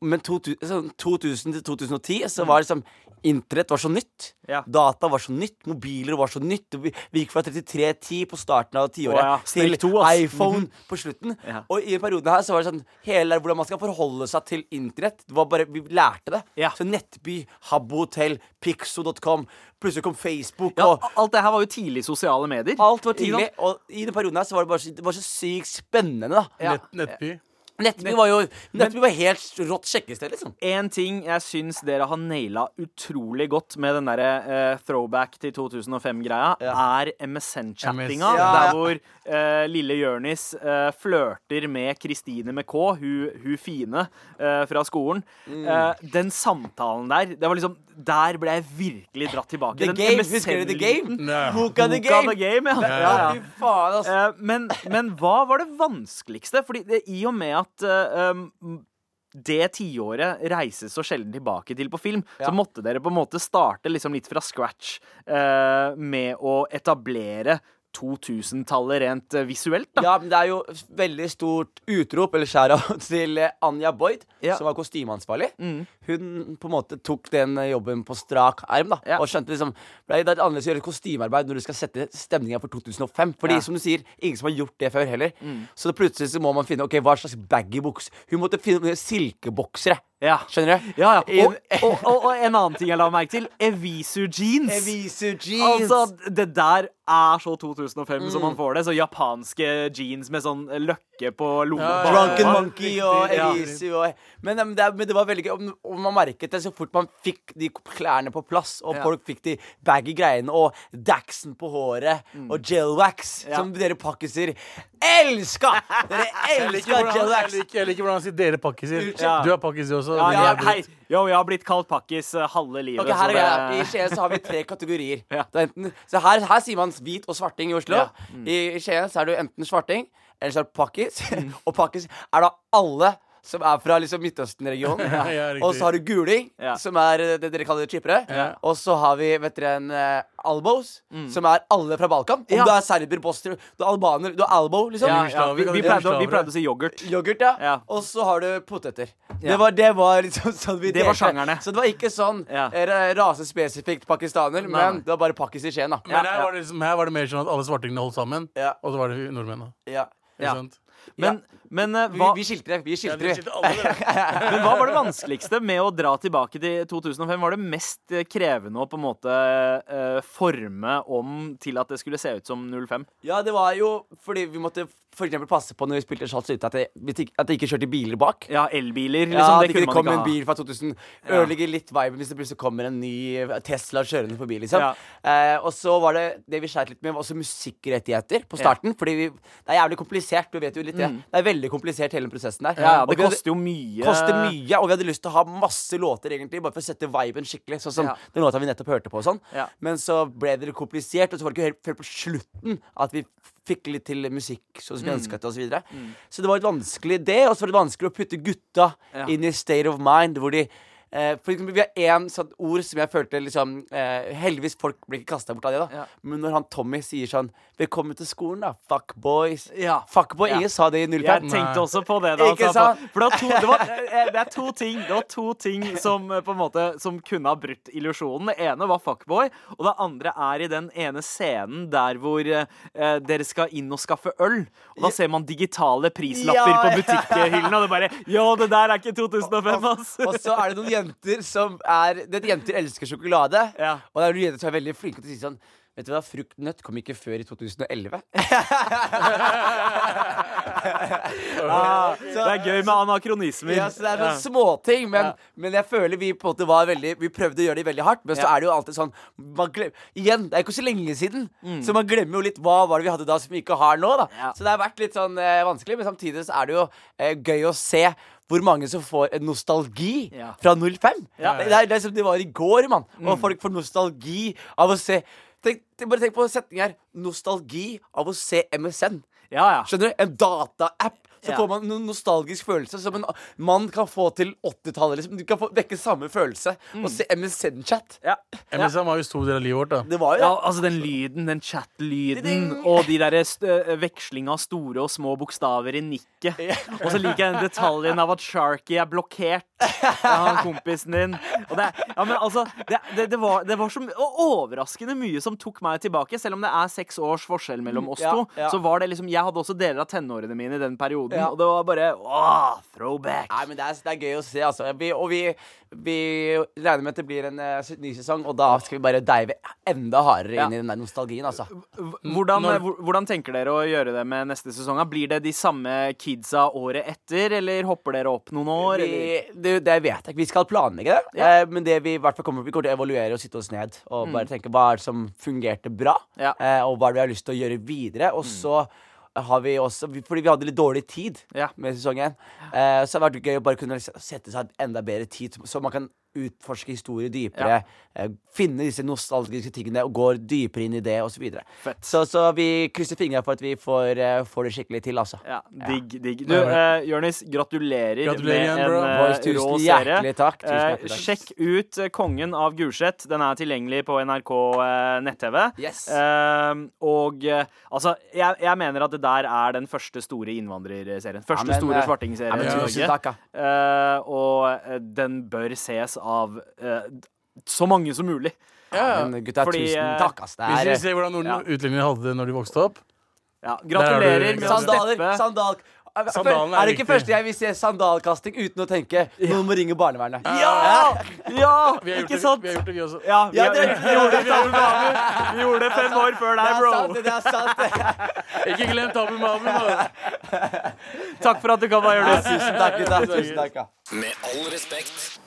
D: Men 2000, sånn 2000 til 2010 så var liksom Internett var så nytt.
C: Mm. Ja.
D: Data var så nytt. Mobiler var så nytt. og Vi vi gikk fra 3310 på starten av tiåret
C: Å ja,
D: til
C: Snake 2, ass. Mhm.
D: iPhone på slutten.
C: Ja.
D: Og i perioden her så var det sånn Hele hvordan man skal forholde seg til internett. Det var bare, Vi lærte det.
C: Ja.
D: Så Nettby, Habbo Hotel, Pixo.com. Plutselig kom Facebook
C: Ja,
D: og
C: alt det her var jo tidlig sosiale medier.
D: Alt var
C: Ikke
D: tidlig.
C: sant?
D: Og i den perioden her så var det bare så, det var så sykt spennende, da.
E: Nett, nettby.
D: Nettby var jo Nettby var helt rått sjekkested, liksom.
C: En ting jeg syns dere har naila utrolig godt med den derre eh, throwback til 2005-greia, er MSN-chattinga.
E: MSN.
D: Ja, ja.
C: Der hvor eh, lille Jørnis eh, flørter med Kristine med K, hun, hun fine eh, fra skolen.
D: Mm.
C: Eh, den samtalen der, det var liksom Der ble jeg virkelig dratt tilbake.
D: The
C: Den
D: Game. Husker dere The
C: MSN-lyden.
D: Game?
E: Nei.
D: Boka The
C: Boka The
D: Game.
C: Game, ja. ja, ja.
D: Ja, fy faen, altså.
C: Eh, men, men hva var det vanskeligste? Fordi det, i og med at eh, um, det tiåret reises så sjelden tilbake til på film,
D: Ja.
C: så måtte dere på en måte starte liksom litt fra scratch eh, med å etablere 2000-tallet rent eh, visuelt, da.
D: Ja, men Det er jo veldig stort utrop eller shout-out til eh, Anja Boyd,
C: Ja. Mm.
D: som var kostymeansvarlig. Hun på en måte tok den eh, jobben på strak arm da
C: Ja.
D: og skjønte liksom Det er det er annerledes å gjøre kostymearbeid når du skal sette stemninga for 2005. Fordi
C: Ja. Mm.
D: som du sier, ingen som har gjort det før heller. Så det plutselig så må man finne Ok, hva slags baggy buks Hun måtte finne silkeboksere.
C: Ja.
D: Skjønner du?
C: Ja, ja. Og,
D: In-
C: og, og, og en annen ting jeg la merke til. Evisu jeans.
D: Evisu jeans.
C: Altså, Det der er så 2005 som
D: Mm.
C: man får det. Så japanske jeans med sånn løkke på lomma.
E: Ja, ja, ja.
D: Drunken
E: Ja,
D: Monkey
E: riktig,
D: og
E: ja.
D: Elise og men, men, det, men det var veldig gøy. og- Og man merket det så fort man fikk de klærne på plass, og
C: Ja.
D: folk fikk de baggy greiene, og Daxen på håret,
E: Mm.
D: og gelwax,
C: Ja.
D: som dere pakkiser elska! Dere elska
E: Jeg
D: gelwax!
E: liker, jeg liker hvordan han sier 'dere pakkiser'.
C: Ja.
E: Du er pakkiser også.
C: Ja,
E: men
C: ja,
E: jeg er
C: hei, jo, jeg har blitt kalt pakkis eh, halve livet.
D: Ok, her er greia. I
C: så det,
D: Skien så har vi tre kategorier.
C: Ja.
D: Det er enten, så her, her sier man hvit og svarting i Oslo.
C: Ja.
D: I, I Skien så er du enten svarting, eller så er du pakkis.
C: Mm.
D: og pakkis er da alle som er fra liksom Midtøsten-regionen.
E: ja, riktig.
D: og så har du guling,
C: Ja.
D: som er eh, det dere kaller chippere.
E: Ja.
D: Og så har vi vet dere en eh, albos, som er alle fra Balkan. Om
C: Mm. Ja.
D: du er serber, boster, du er albaner, du er albo, liksom.
C: ja, ja, vi, vi, pleide, å- vi pleide å si yoghurt.
D: Yoghurt, ja.
C: Ja.
D: Og så har du poteter.
C: Ja.
D: Det, var, det var liksom sånn vi
C: Det var
D: delte.
C: sjangerne.
D: Så det var ikke sånn
C: Ja.
D: eh, rasespesifikt pakistaner,
C: nei.
D: men det var bare pakkis i Skien, da.
E: Men her var, det liksom, her var det mer sånn at alle svartingene holdt sammen,
D: Ja.
E: og så var det nordmenn. da.
D: Ja.
E: Ikke
C: Ja.
E: sant?
C: Men, men, eh,
D: Vi,
C: hva,
D: vi skilter det. Vi
E: Ja,
D: skilter
E: dere
D: det.
E: sitter alle der.
C: men hva var det vanskeligste med å dra tilbake til 2005? Var det mest eh, krevende å på en måte eh, forme om til at det skulle se ut som 05?
D: Ja, det var jo fordi vi måtte for eksempel passe på når vi spilte Charles Ute, at det vi tikk- at det ikke kjørte biler bak.
C: Ja, elbiler, liksom.
D: Ja,
C: det,
D: det,
C: kunne man
D: kunne komme
C: ikke
D: en
C: ha.
D: bil fra 2000. Ødelegger litt viben hvis det plutselig kommer en ny eh, Tesla kjørende forbi. liksom
C: Ja.
D: eh, Og så var det det vi sleit litt med, var også musikkrettigheter på starten. Fordi vi, det er jævlig komplisert. Du vet jo litt det. Det er veldig komplisert, hele den prosessen der.
C: Mm. Ja, ja,
D: Og
C: det
D: vi hadde-
C: koster jo mye.
D: koster mye, og vi hadde lyst til å ha masse låter, egentlig, bare for å sette viben skikkelig. Sånn som
C: Ja.
D: den låta vi nettopp hørte på. og Sånn.
C: Ja.
D: Men så ble det litt komplisert, og så var det ikke helt, helt på slutten at vi fikk litt til musikk
C: Mm.
D: sånn som vi ønsket oss, og så videre. Så det var litt vanskelig, det. Og så var det vanskelig å putte gutta
C: Ja.
D: inn i state of mind, hvor de eh, for eksempel, Vi har én sånn ord som jeg følte liksom eh, Heldigvis folk blir ikke kasta bort av det, da.
C: Ja.
D: Men når han Tommy sier sånn 'Velkommen til skolen, da, E fuck boys'.
C: Ja.
D: Fuck boy,
C: Ja.
D: Ingen sa det i 05.
C: Jeg tenkte også på det. da han
D: Ikke
C: sa på-
D: sant?
C: For det, var to, det, var, eh, det er to ting Det var to ting som eh, på en måte Som kunne ha brutt illusjonen. Det ene var fuckboy, og det andre er i den ene scenen der hvor eh, eh, dere skal inn og skaffe øl. Og da ser man digitale prislapper
D: Ja,
C: på
D: ja.
C: butikkhyllene, og det bare Ja, det der er ikke 2005, ass!
D: Og så er det noen jenter som er Det er jenter elsker sjokolade.
C: Ja.
D: Og det er noen jenter som er veldig flinke til å si sånn Vet du hva, fruktnøtt kom ikke før i 2011.
C: Det er gøy med anakronismer.
D: Ja, så det er sånn
C: Ja.
D: sånne småting, men,
C: Ja.
D: men jeg føler vi på en måte var veldig Vi prøvde å gjøre det veldig hardt, men så
C: Ja.
D: er det jo alltid sånn man glem, Igjen, det er ikke så lenge siden, så man glemmer jo litt hva var det vi hadde da som vi ikke har nå. da
C: Mm. Ja.
D: Så det har vært litt sånn eh, vanskelig, men samtidig så er det jo eh, gøy å se hvor mange som får en nostalgi
C: Ja.
D: fra 05.
C: Ja. Mm.
D: Det, det er det er som det var i går, mann. Og folk får nostalgi av å se Tenk, bare tenk på setningen her. Nostalgi av å se MSN.
C: ja, ja.
D: Ah. Skjønner du? En dataapp. Så
C: Ja.
D: får man en nostalgisk følelse som en mann kan få til 80-tallet. Liksom. Du kan få vekke samme følelse og se MSN-chat.
C: ja.
E: MSM var jo stor del av livet vårt. da
D: Det var jo
C: Ja,
D: det.
C: altså den lyden, den chat-lyden,
D: Ding-ding.
C: og de der st- eh, vekslinga av store og små bokstaver i nikket. Og så liker jeg den detaljen av at Sharky er blokkert av han kompisen din. Og det, er- ja, men altså, det, det, det, var, det var så my- og overraskende mye som tok meg tilbake. Selv om det er seks års forskjell mellom oss
D: Ja,
C: to,
D: ja.
C: så var det liksom Jeg hadde også deler av tenårene mine i den perioden,
D: Ja.
C: og det var bare åh, throwback.
D: Nei, men det er, det er gøy å se, altså. Vi, og vi, vi regner med at det blir en eh, ny sesong, og da skal vi bare dive enda hardere
C: Ja.
D: inn i den der nostalgien, altså.
C: Hvordan, hvor- hvordan tenker dere å gjøre det med neste sesong? da? Blir det de samme kidsa året etter, eller hopper dere opp noen år? eller?
D: Vi, det, det vet jeg ikke. Vi skal planlegge det.
C: Ja. Mm.
D: Eh, men det vi i hvert fall kommer vi kommer til å evaluere og sitte oss ned og bare tenke hva er det som fungerte bra,
C: Ja. Mm.
D: eh, og hva er det vi har lyst til å gjøre videre. Og så har vi også vi- Fordi vi hadde litt dårlig tid
C: Ja.
D: med sesongen, eh, så har det vært gøy å bare kunne liksom sette seg enda bedre tid, så man kan utforske historie dypere. eh, Finne disse nostalgiske tingene og går dypere inn i det, osv. Så, videre. så så vi krysser fingra for at vi får, eh, får det skikkelig til, altså.
C: Ja, digg, digg. Du, uh, Jørnis, gratulerer,
E: Gratulerer igjen,
C: med en
E: bro.
C: eh,
D: Boys, tusen
C: rå serie.
D: hjertelig takk, tusen
C: Eh,
D: hjertelig takk.
C: sjekk ut eh, Kongen av Gulset. Den er tilgjengelig på NRK eh, nett-TV.
D: Yes.
C: Eh, og eh, altså, jeg, jeg mener at det der er den første store innvandrerserien. Første
D: men,
C: store
D: eh, ja,
C: svartingserien
D: men
C: i
D: tusen
C: Norge.
D: takk, ja.
C: Eh, og eh, den bør ses av eh, så mange som mulig.
E: Ja.
D: Men gutta,
C: Fordi,
D: tusen
C: eh,
D: takk, ass. Det
E: Hvis
D: er
E: vi ser hvordan nord
C: Ja.
E: utlendingene hadde det når de vokste opp
C: Ja,
E: Der er
C: gratulerer
E: du.
C: med å
D: Sandaler!
C: steppe.
D: Sandal. Er,
E: Sandalen er
D: er det ikke
E: viktig.
D: første jeg vil se sandalkasting uten å tenke? Noen må ringe barnevernet.
C: Ja! ja!
E: Vi har gjort,
C: Ikke
E: det,
C: sant?
E: vi, har gjort det, vi også.
C: Ja, vi,
D: Ja,
C: vi,
D: det-
C: gjorde det samme med Abu. Vi gjorde det fem år før
D: Det
C: deg,
D: er sant,
C: bro.
D: det er sant.
E: Ikke glem Tabu Mabu. da.
C: Takk for at du kan være
D: Tusen takk, gutta. Tusen takk. ja.
A: Med all respekt.